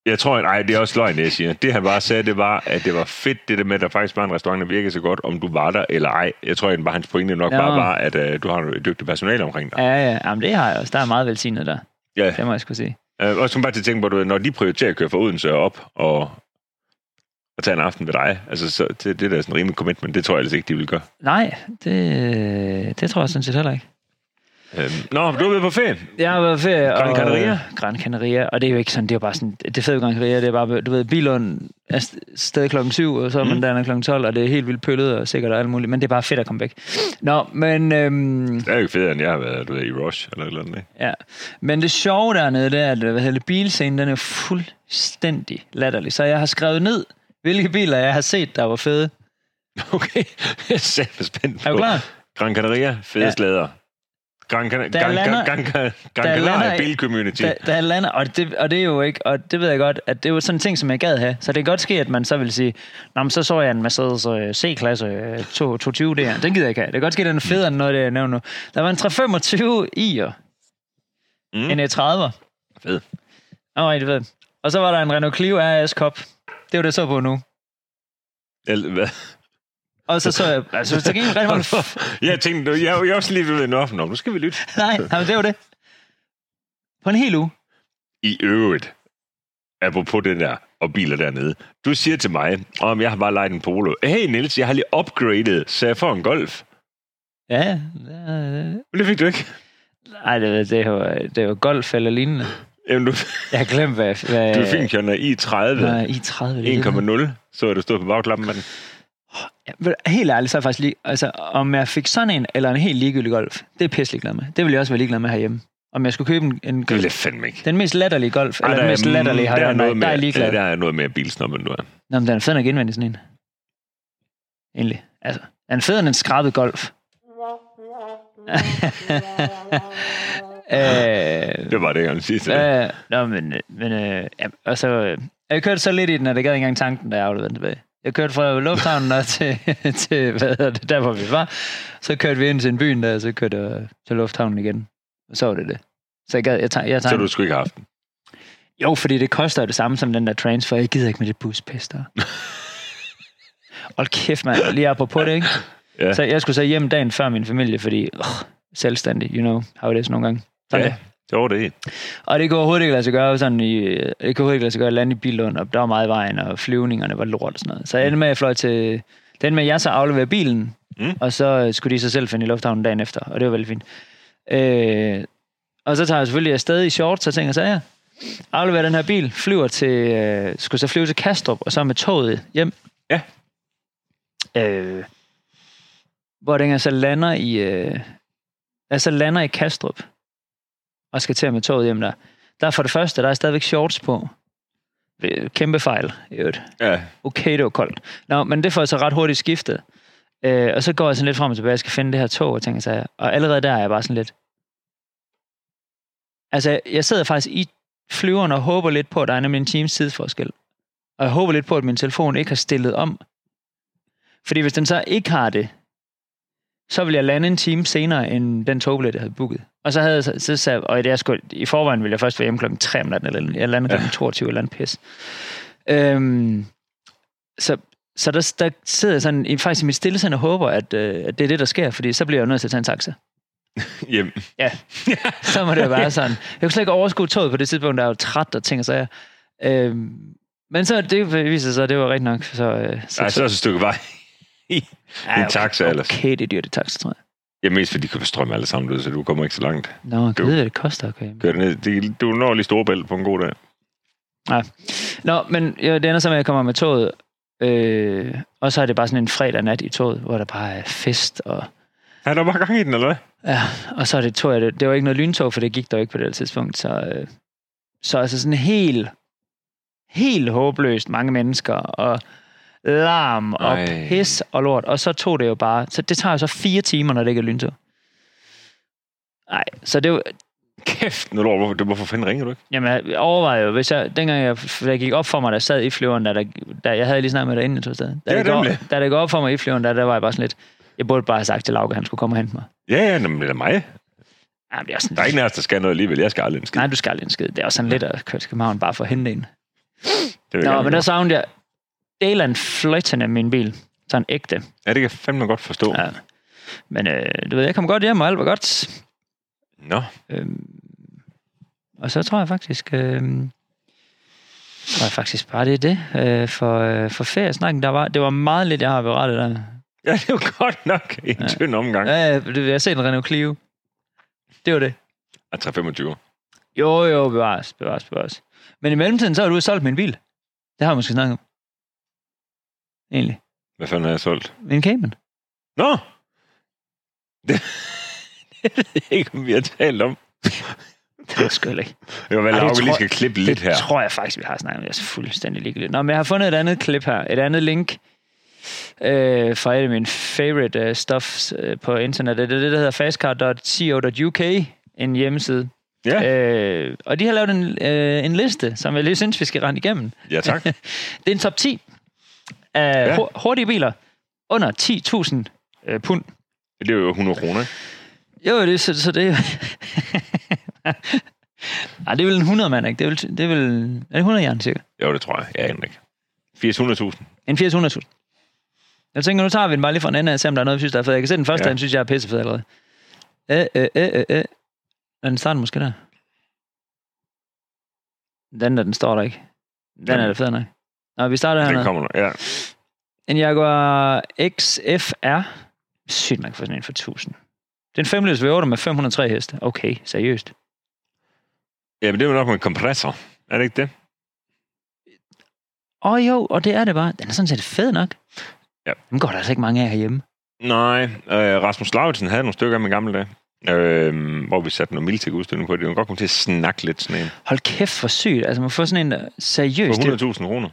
Jeg tror, at, nej, det er også løgn, det jeg siger. Det han bare sagde, det var, at det var fedt, det der med, at der faktisk var en restaurant, der virkede så godt, om du var der eller ej. Jeg tror egentlig bare, hans pointe nok Nå. bare var, at øh, du har et dygtigt personale omkring dig. Ja, ja. Jamen, det har jeg også. Der er meget velsignet der. Ja. Det må jeg skulle sige. Øh, også bare til at tænke på, du ved, når de prioriterer at køre fra Odense op og, og tage en aften ved dig, altså så, det, det der er sådan en rimelig commitment, det tror jeg ellers ikke, de vil gøre. Nej, det, det tror jeg sådan set heller ikke. Øhm, nå, du er ved på ferie. Jeg har været ferie. Gran Canaria? Og, Gran Canaria, og det er jo ikke sådan, det er jo bare sådan, det fede ved Gran Canaria, det er bare, du ved, Bilund er st- stadig klokken 7, og så er man Mm. mm. dernede klokken 12, og det er helt vildt pøllet og sikkert og alt muligt, men det er bare fedt at komme væk. Nå, men, øhm, Det er jo ikke federe, end jeg har været du ved, i Rush eller et eller andet. Ikke? ja. men det sjove dernede, det er, at hvad hedder det, bilscenen, den er fuldstændig latterlig. Så jeg har skrevet ned, hvilke biler jeg har set, der var fede. Okay, jeg er sæt spændt på. Er du klar? Gran Canaria, fede ja. Ja. slæder. Gran Canaria, Der Gran, Gran, lander- Gran, Gran, der Gran Canaria lander- Bill Community. Da, da jeg lander, og det, og det er jo ikke, og det ved jeg godt, at det er jo sådan en ting, som jeg gad have. Så det kan godt ske, at man så vil sige, Nå, men så så jeg en Mercedes øh, C-klasse øh, 220 der. Den gider jeg ikke have. Det kan godt ske, at den er federe end noget, af det jeg nævner nu. Der var en 325 i'er. Mm. Mm. En E30'er. Fed. Åh, oh, det ved. Og så var der en Renault Clio RS Cup. Det er jo det, jeg så på nu. Eller hvad? Og så så jeg, altså, så gik jeg rigtig meget... Jeg tænkte, jeg, jeg er også lige ved en offentlig om. Nu skal vi lytte. Nej, nej, men det var det. På en hel uge. I øvrigt, apropos det der, og biler dernede. Du siger til mig, om jeg har bare lejet en polo. Hey Niels, jeg har lige upgradet, så jeg får en golf. Ja, ja. det- Men det fik du ikke. Ej, det, det, var, det var golf eller lignende. Jamen, du, Jeg har glemt, hvad... hvad du fik en i30. Øh, Nej, i 30 det er det. 1,0, så er du stået på bagklappen med den. Ja, ved du, Helt ærligt, så er jeg faktisk lige... Altså, om jeg fik sådan en, eller en helt ligegyldig golf, det er pisselig glad med. Det ville jeg også være ligeglad med herhjemme. Om jeg skulle købe en, en Det vil jeg fandme ikke. den mest latterlige golf, Ej, eller den mest latterlige har der, er jeg noget der er mere, jeg ligeglad. ja, der er noget mere bilsnob, end du er. Nå, men den er fed nok indvendig sådan en. Egentlig. Altså, den er fed end en skrabet golf. øh, Det var det, jeg ville sige til dig. øh, nå, men, øh, men øh, ja, og så, øh, jeg kørte så lidt i den, at jeg gad ikke engang tanken, da jeg afleverede den tilbage. Jeg kørte fra lufthavnen og til, til hvad hedder det, der hvor vi var. Så kørte vi ind til en byen der, og så kørte jeg til lufthavnen igen. Og så var det det. Så jeg, gad, jeg, jeg, jeg Så tager, du skulle ikke have haft den. jo, fordi det koster jo det samme som den der transfer. Jeg gider ikke med det buspis der. Hold kæft, mand. Lige apropos det, ikke? Ja. Ja. Så jeg skulle så hjem dagen før min familie, fordi øh, selvstændig, you know, har jo det sådan nogle gange. Sådan Ja. ja. Det var det. Og det kunne overhovedet ikke lade sig gøre, sådan i, øh, det kunne overhovedet ikke lade sig gøre at lande i Billund, og der var meget i vejen, og flyvningerne var lort og sådan noget. Så jeg endte med, at jeg fløj til... Den med, at jeg så afleverede bilen, Mm. mm. og så øh, skulle de sig selv finde i lufthavnen dagen efter, og det var veldig fint. Øh, og så tager jeg selvfølgelig afsted i shorts, så tænker jeg, så ja, afleverer den her bil, flyver til, øh, skulle så flyve til Kastrup, og så med toget hjem. Ja. Øh, hvor den jeg så lander i, øh, jeg så lander i Kastrup, og skal til med toget hjem der. Der er for det første, der er stadigvæk shorts på. Øh, Kæmpe fejl, i øvrigt. Ja. Okay, det var koldt. Nå, men det får jeg så ret hurtigt skiftet. Øh, og så går jeg sådan lidt frem og tilbage, jeg skal finde det her tog, og tænker sig, og allerede der er jeg bare sådan lidt... Altså, jeg sidder faktisk i flyveren og håber lidt på, at der er nemlig en times tidsforskel. Og jeg håber lidt på, at min telefon ikke har stillet om. Fordi hvis den så ikke har det, så vil jeg lande en time senere, end den togbillet, jeg havde booket. Og så havde jeg, så, så sagde, og det er sgu, i forvejen ville jeg først være hjemme klokken 3 om natten, eller jeg landede klokken 22 eller andet pis. Øhm, så så der, der sidder jeg sådan, i- faktisk i mit stille sind og håber, at, øh, at det er det, der sker, fordi så bliver jeg jo nødt til at tage en taxa. Jamen, Ja, så må det jo være sådan. Jeg kunne slet ikke overskue toget på det tidspunkt, der er jo træt og ting og sager. Øhm, men så det viser sig, at det var rigtigt nok. Så, øh, så, ej, så er det et stykke vej. Ej, en taxa okay, ellers. Okay, det er dyrt i taxa, tror jeg. Ja, mest fordi de køber strøm alle sammen, du, så du kommer ikke så langt. Nå, jeg Du- ved, hvad det koster. Okay. Kør det ned. Det- Du når lige Storebælt på en god dag. Nå, men ja, det ender så med, at jeg kommer med toget, Øh, og så er det bare sådan en fredag nat i toget, hvor der bare er fest. Og, Er der bare gang i den, eller hvad? ja, og så er det tog, jeg, det var ikke noget lyntog, for det gik der jo ikke på det her tidspunkt. Så, øh, så altså sådan helt, helt håbløst mange mennesker, og larm og Ej. pis og lort. Og så tog det jo bare, så det tager jo så fire timer, når det ikke er lyntog. Nej, så det var, Kæft, nu lort, hvorfor, hvorfor fanden ringer du ikke? Jamen, jeg overvejede jo, hvis jeg, dengang jeg, da jeg gik op for mig, der sad i flyveren, da, der, da jeg havde lige snakket med dig inden, jeg tog afsted. Da, Ja, det går, nemlig. da det går op for mig i flyveren, der, der var jeg bare sådan lidt, jeg burde bare have sagt til Lauke, at han skulle komme og hente mig. Ja, ja, nå, men det er mig. Jamen, det er også sådan, Der er ikke nærmest, der skal noget alligevel. Jeg skal aldrig en skid. nej, du skal aldrig en skid. Det er også sådan lidt at køre til København bare for at hente en. det vil jeg Nå, gerne men gøre. der savnede jeg Delan Fløjten af min bil. Sådan ægte. Ja, det kan jeg fandme godt forstå. Ja. Ja. Men øh, du ved, jeg kom godt hjem, og alt var godt. Nå, Øhm, og så tror jeg faktisk, øhm, tror jeg faktisk bare, det er det. Øh, for, øh, for feriesnakken, der var, det var meget lidt, jeg har berettet der. ja, det er jo godt nok en ja. Ja. tynd omgang. Ja. Ja, ja, det- jeg har set en Renault Clio. Det var det. Og 325. Jo, jo, bevares, bevares, bevares. Men i mellemtiden, så har du solgt min bil. Det har jeg måske snakket om. Egentlig. Hvad fanden har jeg solgt? Min Cayman. Nå! Det, det ved jeg ikke, om vi har talt om. Det er sgu heller ikke. Det var vel, Ej, det at vi lige tror- skal klippe lidt det her. tror jeg faktisk, vi har snakket om. Det er så fuldstændig ligegyldigt. Nå, men jeg har fundet et andet klip her. Et andet link øh, fra et af mine favorite øh, stuffs øh, på internettet. Det er det, der hedder fastcard.co.uk. En hjemmeside. Ja, Øh, og de har lavet en, øh, en liste, som jeg lige synes, vi skal rende igennem. ja tak. Det er en top 10 af Ja. ja. hurtige biler under 10.000 øh, pund. Det er jo 100 kroner. ikke? Jo, det, så, så det er jo... Ej, det er vel en 100 mand, ikke? Det er vel, det er, vel, er det 100 jern, cirka? Jo, det tror jeg. Jeg aner ikke. 800.000. En 80-100.000. Jeg tænker, nu tager vi den bare lige fra en ende af, og ser om der er noget, vi synes, der er fedt. Jeg kan se den første, Ja. ja. den synes, jeg er pissefed allerede. Øh, øh, øh, øh, øh. Og den starter måske der. Den der, den står der ikke. Den Jamen. er da fed nok. Nå, vi starter Den hernede. kommer nu. Ja. En Jaguar XFR. Sygt, man kan få sådan en for 1000. Det er en 5 V8 med 503 heste. Okay, seriøst. Jamen, det er jo nok med en kompressor. Er det ikke det? Åh oh, jo, og det er det bare. Den er sådan set fed nok. Ja. Dem går der altså ikke mange af herhjemme. Nej, øh, Rasmus Lauritsen havde nogle stykker af min gamle dag. Øh, hvor vi satte noget mild til udstilling på. Det var godt komme til at snakke lidt sådan en. Hold kæft, hvor sygt. Altså, man får sådan en der- seriøst. det- For 100.000 kroner.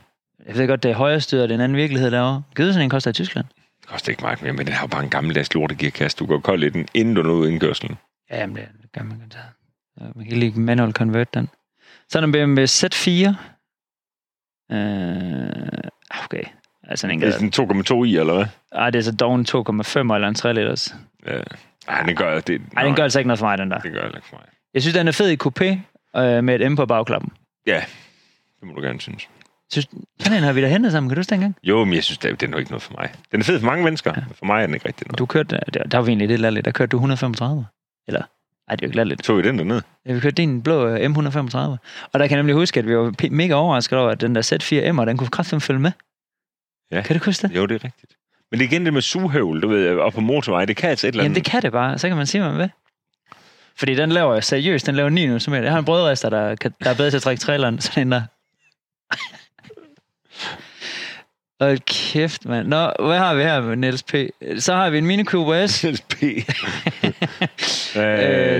Jeg ved godt, det er højere styr, og det er en anden virkelighed derovre. Givet sådan en koster i Tyskland. Det koster ikke meget mere, men den har jo bare en gammeldags lortegearkasse. Du går kold i den, inden du når ud i indkørslen. Ja, jamen, det, det gør man godt. Ja, Man kan lige manual convert den. Så er der en BMW Z4. Øh, okay. Altså, den Ja. Er gad. det sådan 2,2 i, eller hvad? Ej, det er så doven 2,5 eller en 3 liters. Ja. Ej, den gør det. Ej, den gør altså ikke noget for mig, den der. Det gør heller ikke for mig. Jeg synes, den er fed i coupé øh, med et M på bagklappen. Det må du gerne synes. Sådan en har vi da hentet sammen, kan du huske dengang? Jo, men jeg synes, det er, det er nu ikke noget for mig. Den er fed for mange mennesker. Ja. For mig er den ikke rigtig noget. Du kørte, der, der var vi egentlig lidt latterligt, der kørte du 135. Eller, ej, det er jo ikke latterligt. Tog I den dernede? Ja, vi kørte din blå øh, M135. Og der kan jeg nemlig huske, at vi var p- mega overrasket over, at den der Z4M'er, den kunne kraftigt følge med. Ja. Kan du huske det? Jo, det er rigtigt. Men det er igen det med sughøvel, du ved, og på motorvej, det kan altså et eller Jamen, andet. det kan det bare. Så kan man sige, hvad man vil. Fordi den laver seriøst, den laver 9 nu. Jeg har en brødrester, der, kan, der er bedre til at trække traileren. Sådan en der. Hold kæft, mand. Nå, hvad har vi her med Niels P? Så har vi en Mini Cooper S. TSP. øh,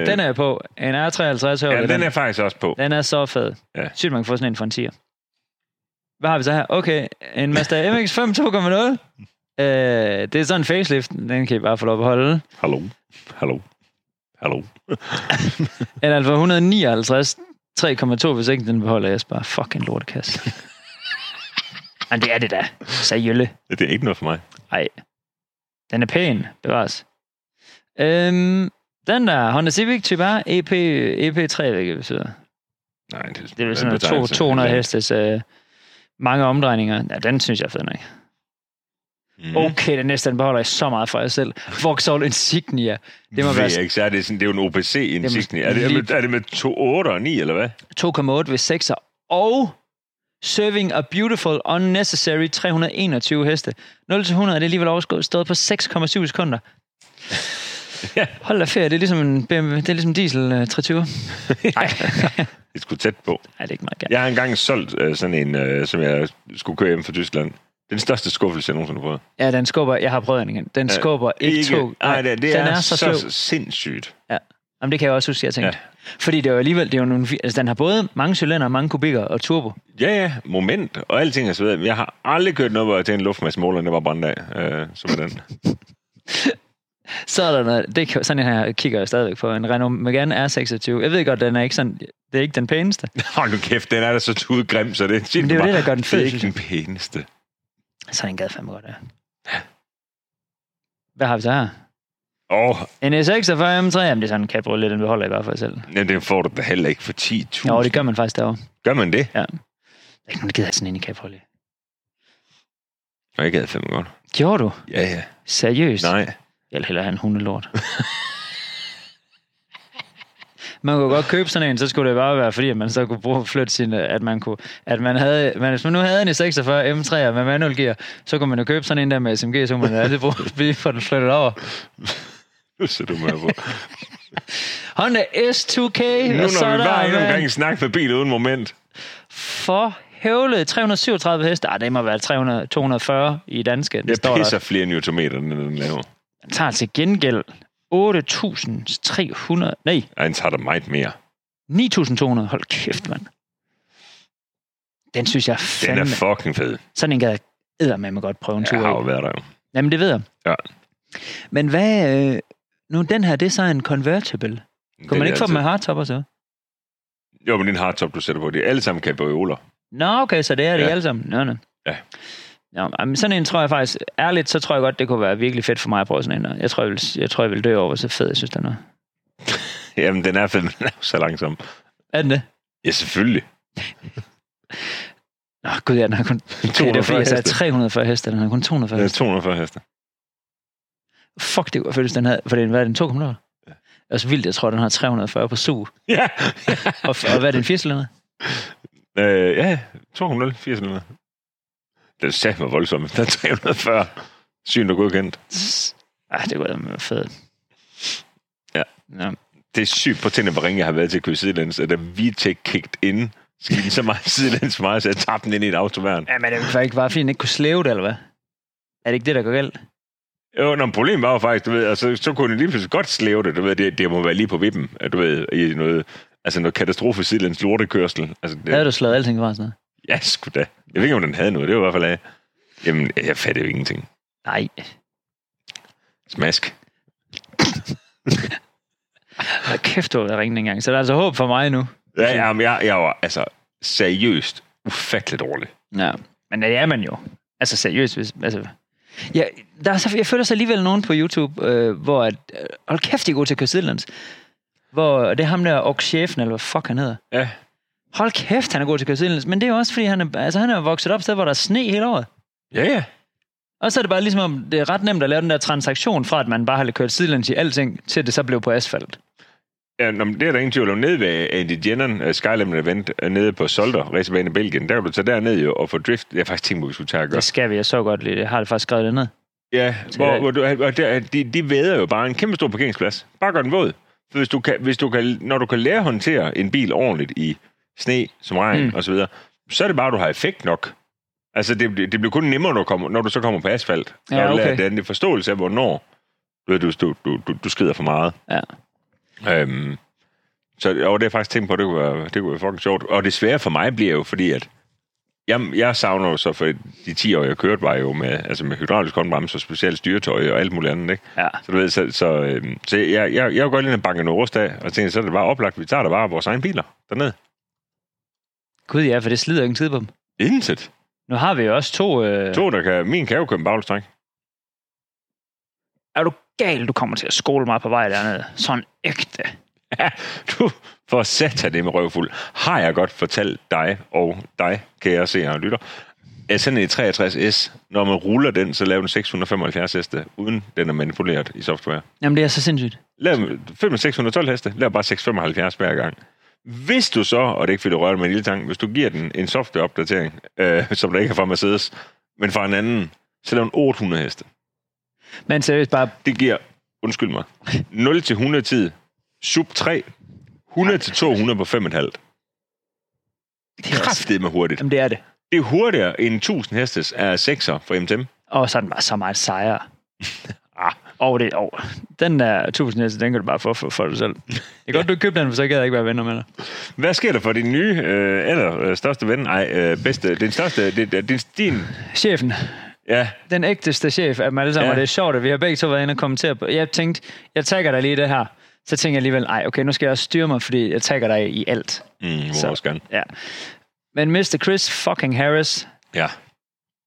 den er jeg på. En R53 ja, hører den, den er faktisk også på. Den er så fed. Ja. Ja. Sygt, man kan få sådan en for en 10'er. Hvad har vi så her? Okay, en Mazda MX-5 2.0. Øh, det er sådan en facelift. Den kan I bare få lov at holde. Hallo. Hallo. Hallo. En Alfa 159 3,2, hvis ikke den beholder jeg bare fucking lortekasse. Men det er det da. Seriølle. Det er ikke noget for mig. Den er pæn, bevares. Øhm, den der Honda Civic Type E R EP, EP3, hvilket betyder. Nej, det, Det er vel sådan noget to- 200 hestes øh, mange omdrejninger. Ja, den synes jeg er fed nok. Mm. Okay, den næste, den beholder jeg så meget for jer selv. Vauxhall Insignia. Det må Ved være jeg ikke, så er det, sådan, det er jo en OPC Insignia. Er det, er, lige- det, er det med 2, 8 og 9, eller hvad? 2,8 ved 6'er. Og Serving a Beautiful Unnecessary 321 heste. 0-100 er det alligevel overskået stået på 6,7 sekunder. Ja. Hold da ferie, det er ligesom en BMW, det er ligesom diesel øh, 320. Nej, Det skulle tæt på. det er ikke meget galt. Jeg har engang solgt øh, sådan en, øh, som jeg skulle køre hjem fra Tyskland. Den største skuffelse, jeg nogensinde har prøvet. Ja, den skubber, jeg har prøvet den igen. Den Ja, skubber ikke, ikke tog. Nej, Øh, det, det den er, er så sløv. sindssygt. Jamen, det kan jeg også huske, jeg tænkte. Ja. Fordi det er jo alligevel, det er jo nogle, fi- altså, den har både mange cylinder, mange kubikker og turbo. Ja, ja, moment og alting og så videre. Men Jeg har aldrig kørt noget, hvor jeg til en luftmassemåler, der var brændt af, øh, som er den. Så er der noget, det kan, sådan en her kigger jeg stadigvæk på, en Renault Megane R26. Jeg ved godt, den er ikke sådan, det er ikke den pæneste. Hold nu kæft, den er da så tudegrim, så det er Men det er jo det, der gør den fed, Det er ikke synes den pæneste. Så den gad fandme godt, ja. Hvad har vi så her? Åh, oh, En S46 M3, jamen det er sådan en cabriolet, den beholder jeg bare for jer selv. jamen, den får du da heller ikke for 10.000. Jo, det gør man faktisk derovre. Gør man det? Der er ikke nogen, der gider have sådan en i cabriolet. Nå, jeg gad fandme godt. Gjorde du? Ja, ja. Seriøst? Nej. Jeg vil hellere have en hundelort. man kunne godt købe sådan en, så skulle det bare være, fordi at man så kunne bruge at flytte sin, at man kunne, at man havde, man, hvis man nu havde en i 46 M3'er med manuel gear, så kunne man jo købe sådan en der med SMG, så kunne man altid bruge blive for den flyttet over. Nu ser du mig på. Honda S2K, nu og så når er vi bare endnu en der, øh, gang man, snakke med bil uden moment. for høvlet 337 heste. Ah, det må være 300, 240 i danske. Det Jeg står pisser der. flere newtonmeter, end den laver. Den tager til gengæld 8.300, nej, Ej, den tager der meget mere. 9.200. Hold kæft, mand. Den synes jeg Den fandme... er fucking fed. Sådan en gad jeg med mig godt prøve en tur Jeg har jo af. været der jo. Jamen, det ved jeg. Ja. Men hvad... Øh, nu, den her, det er så en convertible. Kunne Det man er ikke få dem med altid- hardtopper så? Jo, men det er en hardtop, du sætter på. De er alle sammen cabrioler. Nå, okay, så det er det Ja. alle sammen. Nå, nå. Ja. Nå, men sådan en tror jeg faktisk... Ærligt, så tror jeg godt, det kunne være virkelig fedt for mig at prøve sådan en. der. Jeg tror, jeg vil, jeg, tror, jeg vil dø over, hvor så fed jeg synes, den er. Jamen, den er fed, men den er jo så langsom. Er den det? Ja, selvfølgelig. Nå, gud, ja, den har kun... Okay, det er fordi, 240 jeg sagde heste. 340 heste, den har kun 240 Den er heste. 240 heste. Fuck, det var føles den her, for den, hvad er den, 2,0? Ja. Og så vildt, jeg tror, den har 340 på su. Ja. Og, og hvad er den, 80 eller øh, ja, 200, 400. Den sagde mig voldsomt. Den er 340. Syn og godkendt. Ah, det var fedt. Ja. ja. Det er sygt på tænder, hvor ringe jeg har været til at køre sidelæns, at da VTEC kicked in, skete den så meget sidelæns for mig, så jeg tabte den ind i et autoværn. Ja, men det var ikke bare, fordi den ikke kunne slæve det, eller hvad? Er det ikke det, der går galt? Jo, når problemet var jo faktisk, du ved, altså, så kunne den lige pludselig godt slæve det, du ved, det, det må være lige på vippen, at du ved, i noget, altså noget katastrofe sidelæns lortekørsel. Altså, Ja. Havde det, du slået alting fra sådan noget? ja, sgu da. Jeg ved ikke, om den havde noget, det var i hvert fald af. Jamen, jeg fattede jo ingenting. Nej. Smask. Hold kæft, du har været ringe engang. Så der er altså håb for mig nu. Ja, ja, men jeg, jeg var altså seriøst ufatteligt dårlig. Ja. Men det er man jo. Altså seriøst, hvis... Altså, ja, der er så, jeg føler så alligevel nogen på YouTube, øh, hvor... At, øh, hold kæft, de er gode til at køre sidelands. Hvor det er ham der, og chefen, eller hvad fuck han hedder. Ja. Hold kæft, han er god til at køre sidelands. Men det er jo også, fordi han er, altså, han er jo vokset op et sted, hvor der er sne hele året. Ja, ja. Og så er det bare ligesom, om det er ret nemt at lave den der transaktion fra, at man bare har kørt sidelæns i alting, til det så blev på asfalt. ja nå, men det er der ingen tvivl om. Nede ved Andy Jenneren, uh, Skyland Event, øh, nede på Solder, racerbane i Belgien, der kan du tage derned jo og få drift. Jeg har faktisk tænkt på, at vi skulle tage og gøre. Det skal vi, jeg så godt lige. Jeg har det faktisk skrevet det ned. Ja, hvor, hvor du, og der, de, de væder jo bare en kæmpe stor parkeringsplads. Bare gør den våd. For hvis du kan, hvis du kan, når du kan lære at håndtere en bil ordentligt i sne, som regn Mm. mm. osv., så er det bare, at du har effekt nok. Altså, det, det bliver kun nemmere, når du, kommer, når du så kommer på asfalt. Ja, når du okay. lærer den den forståelse af, hvornår du, ved, du, du, du, du, du skrider for meget. Ja. Øhm, så og det har jeg faktisk tænkt på, det kunne, være, det kunne være fucking sjovt. Og det svære for mig bliver jo, fordi at jeg, jeg savner jo så, for de 10 år, jeg kørte, var jo med, altså med hydraulisk håndbremse og specielt styretøj og alt muligt andet, ikke? Ja. Så, du ved, så, så, øhm, så jeg, jeg, jeg går lige ind og banker noget rust af, og tænker, så er det bare oplagt, vi tager da bare vores egen biler dernede. Gud ja, for det slider jo ingen tid på dem. Intet. Nu har vi jo også to... Øh... To, der kan, min kan jo købe en baglstræk. Er du gal, du kommer til at skole mig på vej dernede? Sådan ægte. Ja, du, for satan det med røvfuld. Har jeg godt fortalt dig og dig, kan jeg se og lytter, at sådan en 63S, når man ruller den, så laver den 675 heste, uden den er manipuleret i software. Jamen, det er så sindssygt. Lav 5 612 heste, lav bare 675 hver gang. Hvis du så, og det er ikke fordi du rører med en lille tank, hvis du giver den en softwareopdatering, øh, som der ikke er fra Mercedes, men fra en anden, så laver den 800 heste. Men seriøst, bare... Det giver, undskyld mig, 0 til 100 tid, sub 3, 100 til 200 på 5,5. Det er også... Kraftet med hurtigt. Jamen, det er det. Det er hurtigere end 1000 hestes af 6'er for MTM. Og så er den bare så meget sejere. Ah. Og det over. Den der 1000 heste, den kan du bare få for, for dig selv. Det er godt, du ikke købte den, for så kan jeg ikke være venner med dig. Hvad sker der for din nye, øh, eller øh, største ven? Nej, øh, bedste, den største, din, din, din Chefen, ja, den ægteste chef af dem alle sammen, Ja. ja. og det er sjovt, at vi har begge to været inde og kommentere på. Jeg tænkte, jeg tagger dig lige i det her. Så tænkte jeg alligevel, nej, okay, nu skal jeg også styre mig, fordi jeg tagger dig i alt. mm, Så. så. gerne. Ja. Men Mr. Chris fucking Harris, Ja.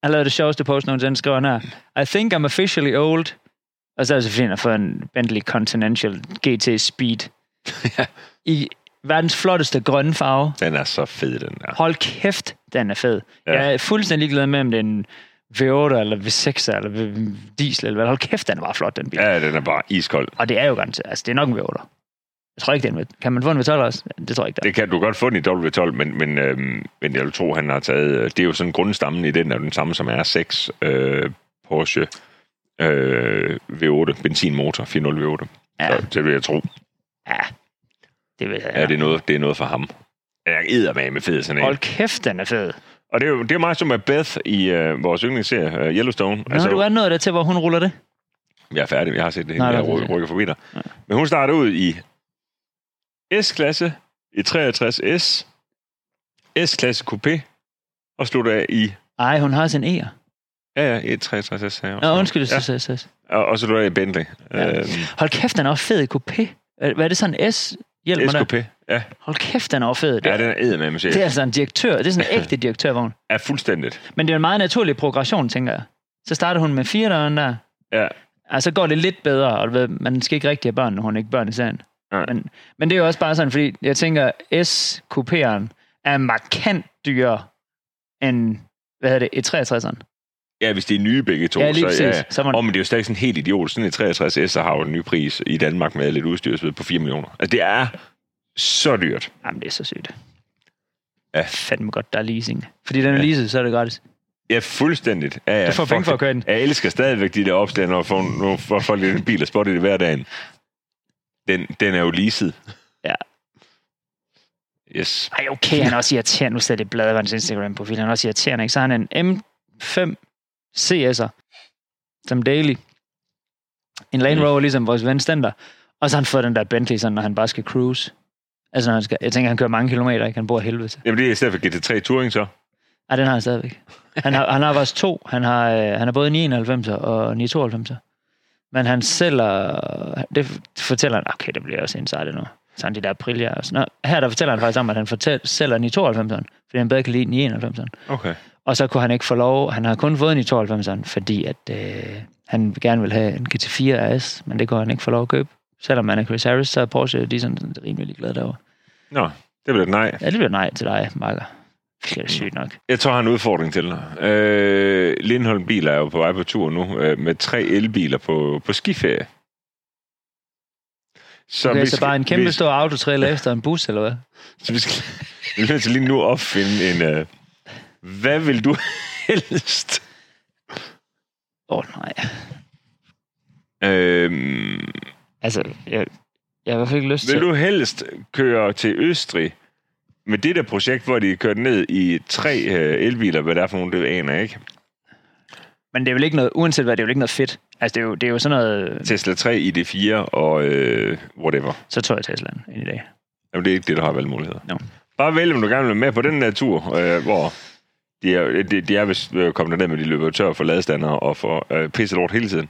han lavede det sjoveste post nogensinde, skriver han her. I think I'm officially old. Og så er det så fordi, han har fået en Bentley Continental GT Speed. I verdens flotteste grønne farve. Den er så fed, den der. Hold kæft, den er fed. Ja. Ja. Jeg er fuldstændig glad med, om det er en V8 eller V6 eller V- diesel. Eller hvad. Hold kæft, den var flot, den bil. Ja. Ja, den er bare iskold. Og det er jo garanteret. Altså, det er nok en V8. Jeg tror ikke, det er en V- Kan man få en V12 også? Det tror jeg ikke, der. Det kan du godt få den i W12, men, men, øhm, men jeg vil tro, han har taget... øh, Det er jo sådan grundstammen i den, er jo den samme som R6 øh, Porsche øh, V8, benzinmotor, 4.0 V8. Ja. Ja. Så det vil jeg tro. Ja, det vil jeg. Ja, det er noget, det er noget for ham. Jeg æder med med fed sådan en. Hold kæft, den er fed. Og det er jo det er meget som med Beth i øh, vores yndlingsserie, øh, Yellowstone. Nå, altså, du er nået der til, hvor hun ruller det. Jeg er færdig, jeg har set det hele, Nej, jeg nej, det er ry- det. rykker forbi dig. Men hun starter ud i S-klasse, i 63S, S-klasse Coupé, og slutter af i Ej, hun har også en E'er. Ja, ja, 163 her. Nå, undskyld, Ja, ja. så, så, så. og, og så lå jeg i Bentley. Ja. Ja. Øhm, Hold kæft, den er også fed i coupé. Hvad hvad er det sådan en S? Hjælp mig der. SKP. Ja, Hold kæft, den er også fed. Det, ja, ja, det, den er eddermame chef. det er altså en direktør. Det er sådan en ægte direktørvogn. Ja, fuldstændigt. Men det er en meget naturlig progression, tænker jeg. Så starter hun med fire døren der, Ja, og så går det lidt bedre, og du ved, man skal ikke rigtig have børn, når hun er ikke børn i serien. Nej. Men, men det er jo også bare sådan, fordi jeg tænker, s kuperen er markant dyrere end, hvad hedder det, E63'eren. ja hvis det er nye begge to, Ja, lige så præcis. ja. Så er man- Åh, men det er jo stadig sådan helt idiot. Sådan en 63S har jo en ny pris i Danmark med lidt udstyr og så videre på 4 millioner. Altså, det er så dyrt. Jamen, det er så sygt. Ja. Fandme godt, der er leasing. Fordi den er Ja. ja. leaset, så er det gratis. Ja, fuldstændigt. Ja, ja, Du får fuck penge for det. at køre den. Jeg elsker stadigvæk de der opslag, når folk, når folk i en bil og spotter det hver dag. Den, den er jo leaset. Ja. Yes. Ej, okay, han er også irriterende. Nu slet det bladet var hans Instagram-profil. Han er også irriterende, ikke? Så har han en M5 CS'er, som daily. En Land Mm. Rover, ligesom vores ven Stender. Og så har han fået den der Bentley, sådan, når han bare skal cruise. Altså, når han skal, jeg tænker, han kører mange kilometer, ikke? Han bor i helvede til. Jamen, det er i stedet for GT3 Touring, så. Ej, den har han stadigvæk. Han har, han har faktisk to. Han har, øh, han har både 99 og 92. Men han sælger... Det fortæller han... Okay, det bliver også insider nu. Så han de der Aprilia og sådan noget. Her der fortæller han faktisk om, at han fortæl, sælger 92, fordi han bedre kan lide 91. Okay. Og så kunne han ikke få lov... Han har kun fået 92, fordi at, øh, han gerne vil have en GT4 RS, men det kunne han ikke få lov at købe. Selvom han er Chris Harris, så er Porsche de er sådan, sådan rimelig glade derovre. Nå, det bliver et nej. Ja, det bliver nej til dig, Marker. Det er sygt nok. Jeg tror, jeg har en udfordring til dig. Øh, Lindholm Biler er jo på vej på tur nu, øh, med tre elbiler på, på skiferie. Så, Okay, så altså bare en kæmpe vi, stor autotrailer efter en bus, eller hvad? Så vi skal vi er nødt til lige nu at opfinde en... Øh, hvad vil du helst? Åh, oh, nej. Øh, Altså, jeg, jeg har i hvert fald ikke lyst vil til... du helst køre til Østrig med det der projekt, hvor de kørte ned i tre øh, elbiler, hvad der er for nogle, det aner jeg ikke. Men det er vel ikke noget, uanset hvad, det er vel ikke noget fedt. Altså, det er jo, det er jo sådan noget... Tesla 3, ID4 og øh, whatever. Så tog jeg Teslaen ind i dag. Jamen, det er ikke det, der har valgmuligheder. Nå. Bare vælg, om du gerne vil være med på den der tur, øh, hvor de er, de, de er vist øh, kommet derned, men de løber tør for ladestander og for øh, pisse lort hele tiden.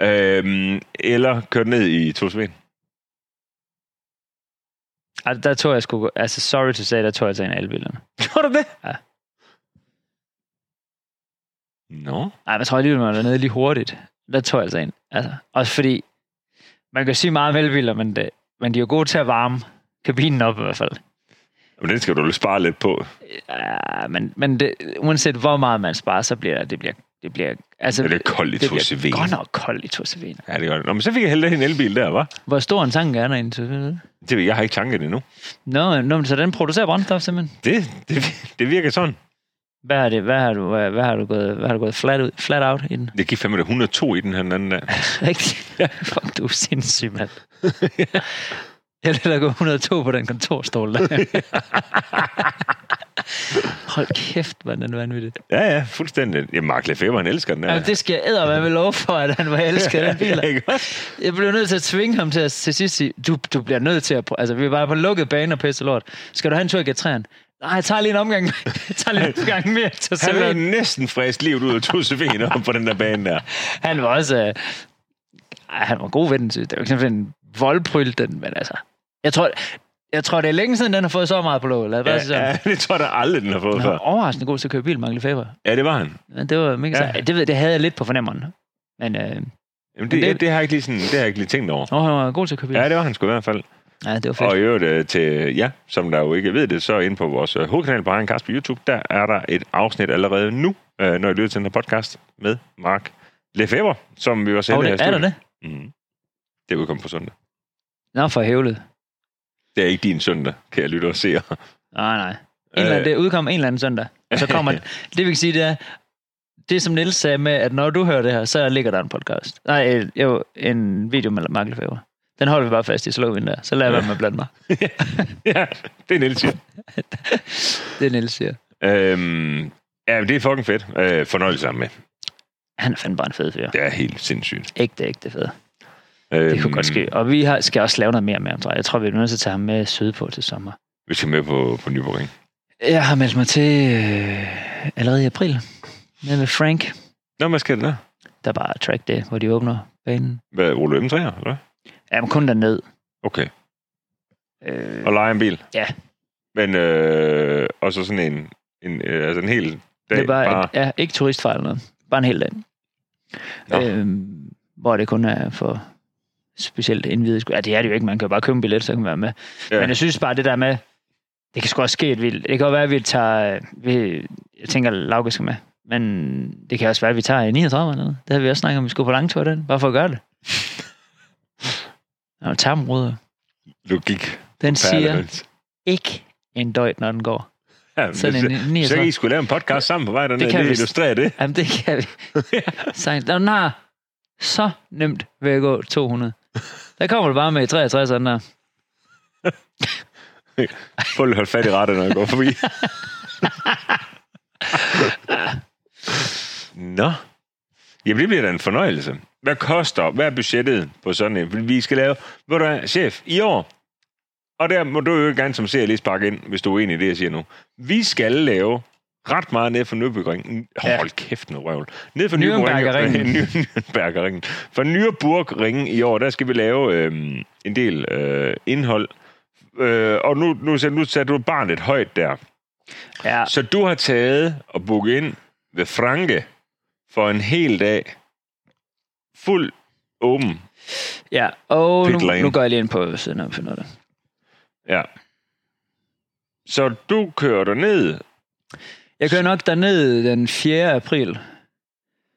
Øh, eller kør ned i Tosven. Altså, der tog jeg sgu... Altså, sorry to say, der tog jeg til en af elbilerne. Gjorde du det? Ja. Nå. Nej, jeg tror alligevel, man var dernede lige hurtigt. Der tog jeg altså en. Altså, også fordi... Man kan sige meget om elbiler, men, det, men de er jo gode til at varme kabinen op i hvert fald. Men den skal du jo spare lidt på. Ja, men, men det, uanset hvor meget man sparer, så bliver det... bliver, det bliver altså, Ja, det er koldt i det bliver 2CV. godt nok koldt i 2CV. Ja, det gør det. Nå, men så fik jeg heller en elbil der, var. Hvor stor en tank er der egentlig? ved du? Det, ved jeg jeg har ikke tanket endnu. Nå, nå, men så den producerer brændstof simpelthen. Det, det, det virker sådan. Hvad har, det, hvad har, du, hvad, hvad har du gået, hvad har du gået flat, ud, flat out i den? Det gik fandme da 102 i den her den anden dag. Rigtigt? Fuck, du er sindssyg, mand. Jeg lader gå 102 på den kontorstol der. Hold kæft, man, den er vanvittig. Ja, ja, fuldstændig. Ja, Mark Lefebvre, han elsker den. Ja. Jamen, det skal jeg æder med lov for, at han var elsket af den bil. ikke også? Jeg blev nødt til at tvinge ham til at til sidst sige, du, du bliver nødt til at... prø- Altså, vi var på lukket bane og pisse lort. Skal du have en tur i G3'en? Nej, jeg tager lige en omgang, jeg tager lige en omgang mere til Han har Sevilla. næsten fræst livet ud af Tussevin op på den der bane der. Han var også... Øh, ej, han var god ved den, synes jeg. Det var ikke sådan en voldpryl, den, men altså... Jeg tror, jeg tror, det er længe siden, den har fået så meget på låget. Lad os bare sige Ja, sådan. ja, det tror jeg da aldrig, den har fået Han var før. overraskende god til at køre bil, Mark Lefebvre. Ja, det var han. Men det var mega Ja. ja. Det, ved- det havde jeg lidt på fornemmeren. Men øh, Jamen, Men det, det- ja, det, har jeg ikke lige sådan, det har jeg ikke lige tænkt over. åh, han var god til at køre bil. Ja, det var han sgu i hvert fald. ja det var fedt. Og i øvrigt øh, til, ja, som der jo ikke ved det, så inde på vores øh, hovedkanal på Ejeren Kast på YouTube, der er der et afsnit allerede nu, øh, når I lytter til den her podcast med Mark Lefebvre, som vi var Og, sendt det, er der det? Mm. Det udkom på søndag. Nå, for hævlet. Det er ikke din søndag, kan jeg lytte og se. Nej, nej. En eller anden, det udkom en eller anden søndag. Og så kommer det. Det vi kan sige, det er, det som Niels sagde med, at når du hører det her, så ligger der en podcast. Nej, øh, jo, en video med Mark Lefebvre. Den holder vi bare fast i, så lukker vi den der. Så lader jeg være med at blande mig. Øh, ja, det er Niels, ja. Det er Niels siger. Øhm, ja, det er fucking fedt. Øh, fornøjelse sammen med. Han er fandme bare en fed fyr. Det er helt sindssygt. Ægte, ægte fed. Øhm, Det kunne godt ske. Og vi har, skal også lave noget mere med ham, tror jeg. Jeg tror, vi er nødt til at tage ham med syd på til sommer. Vi skal med på, på Nyborg, ikke? Jeg har meldt mig til øh, allerede i april. Med med Frank, Nå, hvad skal det der? der bare er track day, hvor de åbner banen. Hvad, Ole M3'er, eller hvad? Jamen kun derned. Okay. Øh, Og lege en bil? Ja. Men, øh, og så sådan en, en, øh, altså en hel dag? det er bare, bare. bare... Ja, ikke turistfejl eller noget. Bare en hel dag. Nå. Øhm, hvor det kun er for specielt indvidede. sku- Ja, det er det jo ikke. Man kan jo bare købe en billet, så kan man være med. Ja. Ja. Men jeg synes bare, det der med, det kan sgu også ske, at vi, det kan jo være, at vi tager, øh, vi, jeg tænker, Lauke skal med, men det kan også være, at vi tager i 39 eller noget. Det havde vi også snakket om, vi skulle på langtur den, bare for at gøre det. Og tarmruder, Logik. den siger Perlemans. ikke en døjt, når den går. Ja, Sådan men en så, så kan 39. I skulle lave en podcast sammen på vej dernede. Det, kan kan det vi- illustrerer det. Jamen, det kan vi. Sejt. Nå, den har så nemt ved at gå 200. Der kommer du bare med 63 sådan der. Fuld hold fat i retter, når jeg går forbi. Nå. Jamen, det bliver da en fornøjelse. Hvad koster, hvad er budgettet på sådan en? Fordi Vi skal lave, ved du hvad, chef, i år, og der må du jo gerne som ser lige sparke ind, hvis du er enig i det, jeg siger nu. Vi skal lave ret meget ned for Nürburgringen. Hold ja. kæft noget røvl. Ned for Nürnbergerringen. Nürburgringen. Nürnbergerringen. For Nürburgringen i år, der skal vi lave øh, en del øh, indhold. Øh, og nu, nu, sæt- nu satte du barnet højt der. Ja, Så du har taget og booket ind ved Franke for en hel dag. Fuld åben. ja. Og nu, Pit lane. nu går jeg lige ind på siden og finder det. Ja. Så du kører ned, Jeg kører nok derned den 4. april.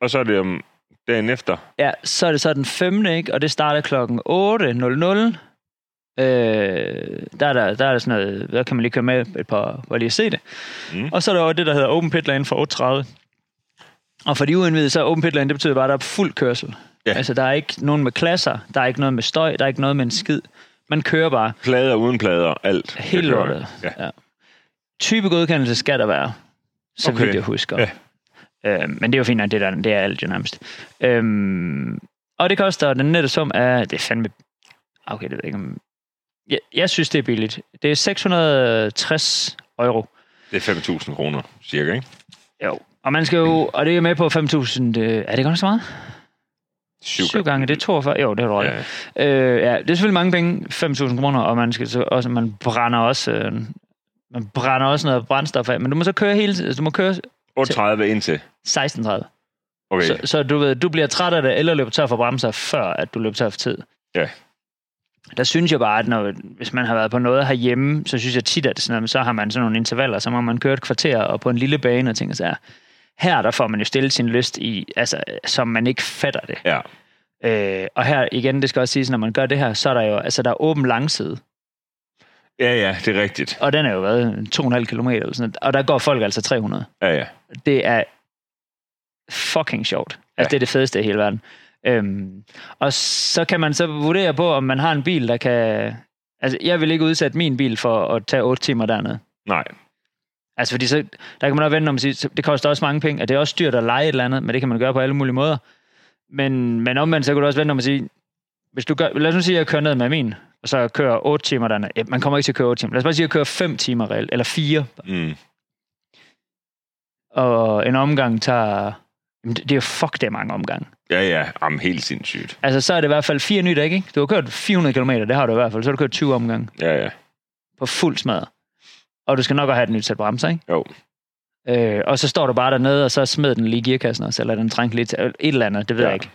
og så er det om dagen efter. Ja, så er det så den 5. Ikke? Og det starter klokken 8.00. Øh, der, er der, der er der sådan noget, der kan man lige køre med et par, for lige at se det. Mm. Mm. Og så er der også det, der hedder Open Pit Lane fra 8.30. Og for de uindvidede, så er Open Pit Lane, det betyder bare, at der er fuld kørsel. Ja. Ja. Altså, der er ikke nogen med klasser, der er ikke noget med støj, der er ikke noget med en skid. Man kører bare Plader uden plader, alt. Det hele kører. lortet. Ja. Type godkendelse skal der være, så Okay. okay. vidt jeg husker. Ja. Øh, men det er jo fint, at det, der, det er alt jo nærmest. Øhm, og det koster den nette sum af... Det er fandme... Okay, det ved jeg ikke om... Jeg, jeg synes, det er billigt. Det er 660 euro. Det er 5.000 kroner, cirka, ikke? Jo. Og man skal jo... Og det er med på 5.000... Øh, er det godt nok så meget? Syv Syv gange, det er 42. Jo, det er ret. Ja. Øh, ja, det er selvfølgelig mange penge, 5.000 kroner, og man, skal så også, man brænder også... Øh, man brænder også noget brændstof af, men du må så køre hele tiden. Du må køre 38 indtil. 16.30. Okay. Så, så du ved, du bliver træt af det, eller løber tør for bremser, før at du løber tør for tid. Ja. Der synes jeg bare, at når, hvis man har været på noget herhjemme, så synes jeg tit, at det er sådan noget, men så har man sådan nogle intervaller, så må man køre et kvarter og på en lille bane og ting så her. Her der får man jo stillet sin lyst i, altså, som man ikke fatter det. Ja. Øh, og her igen, det skal også siges, når man gør det her, så er der jo, altså der er åben langside, ja, ja, det er rigtigt. og den er jo været 2,5 km eller sådan noget, og der går folk altså 300. Ja, ja. det er fucking sjovt. Altså, Ja. ja. det er det fedeste i hele verden. Øhm, og så kan man så vurdere på, om man har en bil, der kan... Altså, jeg vil ikke udsætte min bil for at tage 8 timer dernede. Nej. Altså, fordi så, der kan man også vende om og sige, så det koster også mange penge, og det er også dyrt at lege et eller andet, men det kan man gøre på alle mulige måder. Men, men omvendt, så kan du også vende om og sige, hvis du gør, lad os nu sige, at jeg kører ned med min, og så kører 8 timer dernede. Ja, man kommer ikke til at køre 8 timer. Lad os bare sige, at jeg kører 5 timer reelt, eller 4, Mm. og en omgang tager... Jamen, det, det er jo fuck, det er mange omgange. Ja, ja. Jamen, helt sindssygt. Altså, så er det i hvert fald fire nye dæk, ikke? Du har kørt 400 km, det har du i hvert fald. Så har du kørt 20 omgange Ja, ja. på fuld smad. Og du skal nok også have et nyt sæt bremser, ikke? Jo. Øh, og så står du bare dernede, og så smed den lige i gearkassen også, eller den trængte lidt til et eller andet, det ved Ja. ja. jeg ikke.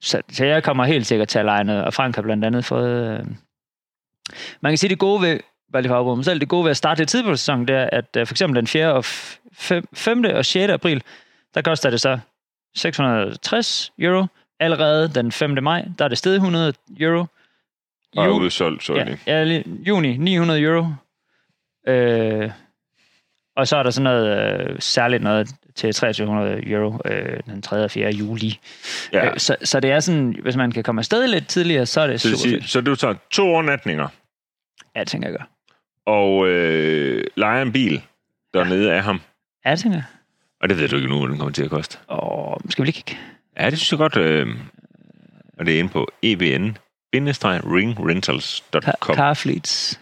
Så, så jeg kommer helt sikkert til at lege noget, og Frank har blandt andet fået... Øh... Man kan sige, det gode ved, bare lige for at afbryde mig selv, det gode ved at starte lidt tidligt på sæsonen, det er, at øh, for eksempel den 4. og f- fem- 5. og 6. april, der koster det så 660 euro. Allerede den 5. maj, der er det stedet 100 euro. Og er Jul- udsolgt, så er Ja, det. ja, lige- juni, 900 euro. Øh, og så er der sådan noget, øh, særligt noget til 2300 euro øh, den 3. og 4. juli. Ja. Øh, så, så det er sådan, hvis man kan komme afsted lidt tidligere, så er det Så, det super siger, fedt. så du tager to overnatninger Ja, det tænker jeg gør. og øh, leger en bil dernede af ham. Ja, det tænker jeg. Og det ved du ikke nu, hvad den kommer til at koste. Og skal vi lige kigge? Ja, det synes jeg godt. Øh, og det er inde på E Ka- ebn-ringrentals.com. Carfleets.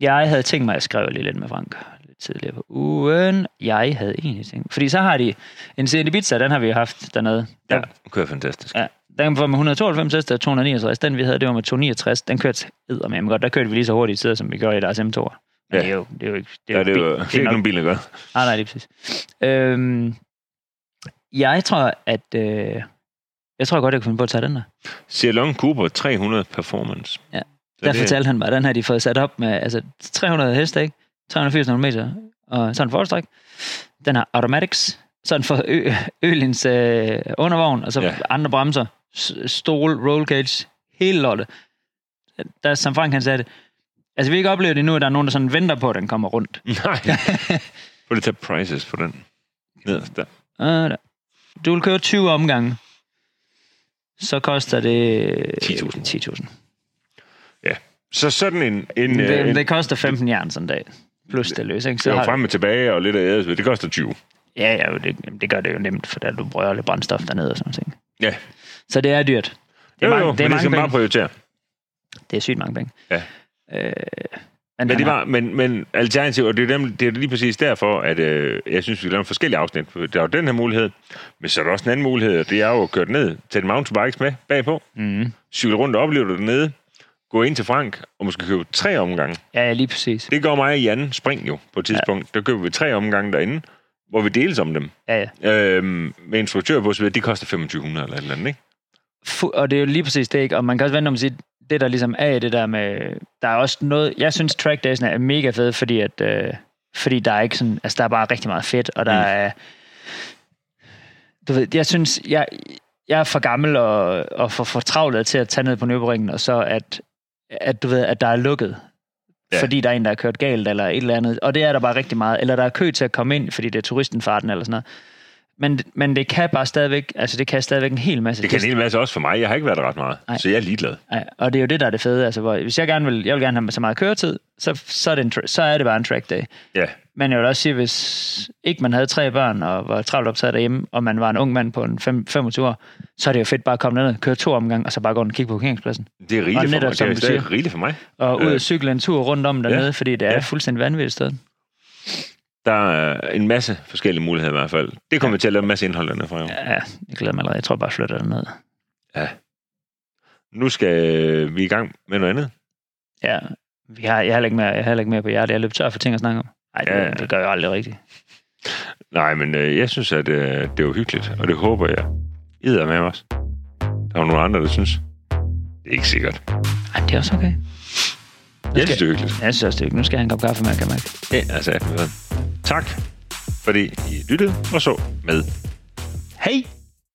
Jeg havde tænkt mig, at jeg skrev lige lidt med Frank lidt tidligere på ugen. Jeg havde egentlig tænkt. Fordi så har de en CD Pizza, den har vi jo haft dernede. Ja, Den, det kører fantastisk. Ja, den var med 192 heste og 269. Den vi havde, det var med 269. Den kørte eddermame godt. Der kørte vi lige så hurtigt i tider, som vi gjorde i deres m 2 Men Ja. det er jo, det er jo ikke... Det Ja, det er bil- jo det er ikke nogen bil, der gør. Nej, nej, lige præcis. Øhm, jeg tror, at... Øh, jeg tror godt, jeg kunne finde på at tage den der. Cialon Cooper 300 Performance. Ja. Så Der det- fortalte han mig, at den har de fået sat op med altså, 300 heste, ikke? 380 km meter, og sådan en forstræk. Den har automatics, sådan for ø- ølens øh, undervogn, og så Ja. ja. andre bremser, s- stol, roll cage, hele lortet. Der, som Frank han sagde det, altså vi har ikke oplevet det nu, at der er nogen, der sådan venter på, at den kommer rundt. Nej. Prøv lige at tage prices på den. Nederst der. Øh, der. Du vil køre 20 omgange, så koster det... øh, 10.000. 10.000. Så sådan en... en, øh, Det, en det koster 15 jern sådan en dag. Plus det løs, ikke? det er jo har- frem og tilbage og lidt af æres. Det koster 20. Ja, ja jo, det, jamen, det gør det jo nemt, for der, du bruger lidt brændstof dernede og sådan noget. Ja. Så det er dyrt. Det er, jo, mange, jo, det men er det mange skal man bare penge. prioritere. Det er sygt mange penge. Ja. Men, Øh, han det har- var, men, men alternativ, og det er, dem, det er lige præcis derfor, at øh, jeg synes, vi skal lave forskellige afsnit. For Der er jo den her mulighed, men så er der også en anden mulighed, og det er jo at køre ned, tage en mountainbikes med bagpå, Mm. cykle rundt og opleve det dernede, gå ind til Frank og måske købe tre omgange. Ja, ja, lige præcis. Det gør mig og Jan Spring jo på et tidspunkt. Ja. Der køber vi tre omgange derinde, hvor vi deles om dem. Ja, ja. Øhm, med instruktør på, så videre. de koster 2500 eller et eller andet, ikke? Fu- og det er jo lige præcis det, ikke? Og man kan også vente om at sige, det der ligesom er i det der med... Der er også noget... Jeg synes, track days er mega fede, fordi at... Øh, fordi der er ikke sådan... Altså, der er bare rigtig meget fedt, og der Mm. mm. er... Du ved, jeg synes... Jeg, jeg er for gammel og, og for, for travlet til at tage ned på Nøberingen, og så at, at du ved, at der er lukket. Ja. Ja. Fordi der er en, der har kørt galt, eller et eller andet. Og det er der bare rigtig meget. Eller der er kø til at komme ind, fordi det er turistenfarten, eller sådan noget. Men, men det kan bare stadigvæk, altså det kan stadigvæk en hel masse. Det kan en hel masse også for mig. Jeg har ikke været der ret meget, Nej. så jeg er ligeglad. Ja, og det er jo det, der er det fede. Altså, hvor, hvis jeg gerne vil, jeg vil gerne have så meget køretid, så, så, er det en, tra- så er det bare en track day. Ja, Men jeg vil også sige, hvis ikke man havde tre børn og var travlt optaget derhjemme, og man var en ung mand på en fem- 25 år, så er det jo fedt bare at komme ned, køre to omgang, og så bare gå rundt og kigge på parkeringspladsen. det er Og rigeligt for netop, mig. Det som er du stadig siger. rigeligt for mig. Og ud Øh. og cykle en tur rundt om dernede, Ja. ja. fordi det er Ja. ja. fuldstændig vanvittigt sted. Der er en masse forskellige muligheder i hvert fald. Det kommer vi til at lave en masse indhold dernede fra. Ja. Ja, jeg glæder mig allerede. Jeg tror bare, jeg flytter derned. Nu skal øh, vi i gang med noget andet. Ja, vi har, jeg har heller ikke mere, jeg har heller ikke mere på hjertet. Jeg løb tør for ting at snakke om. Nej, det, Ja. ja. det gør jeg aldrig rigtigt. Nej, men øh, jeg synes, at øh, det var hyggeligt, og det håber jeg. Ider med os. Der er jo nogle andre, der synes. Det er ikke sikkert. Ej, det er også okay. Jeg synes, det er hyggeligt. Jeg synes også, det er hyggeligt. Nu skal jeg have en kop kaffe med, kan jeg mærke. Ja, altså, jeg kan høre. Tak, fordi I lyttede og så med. Hej!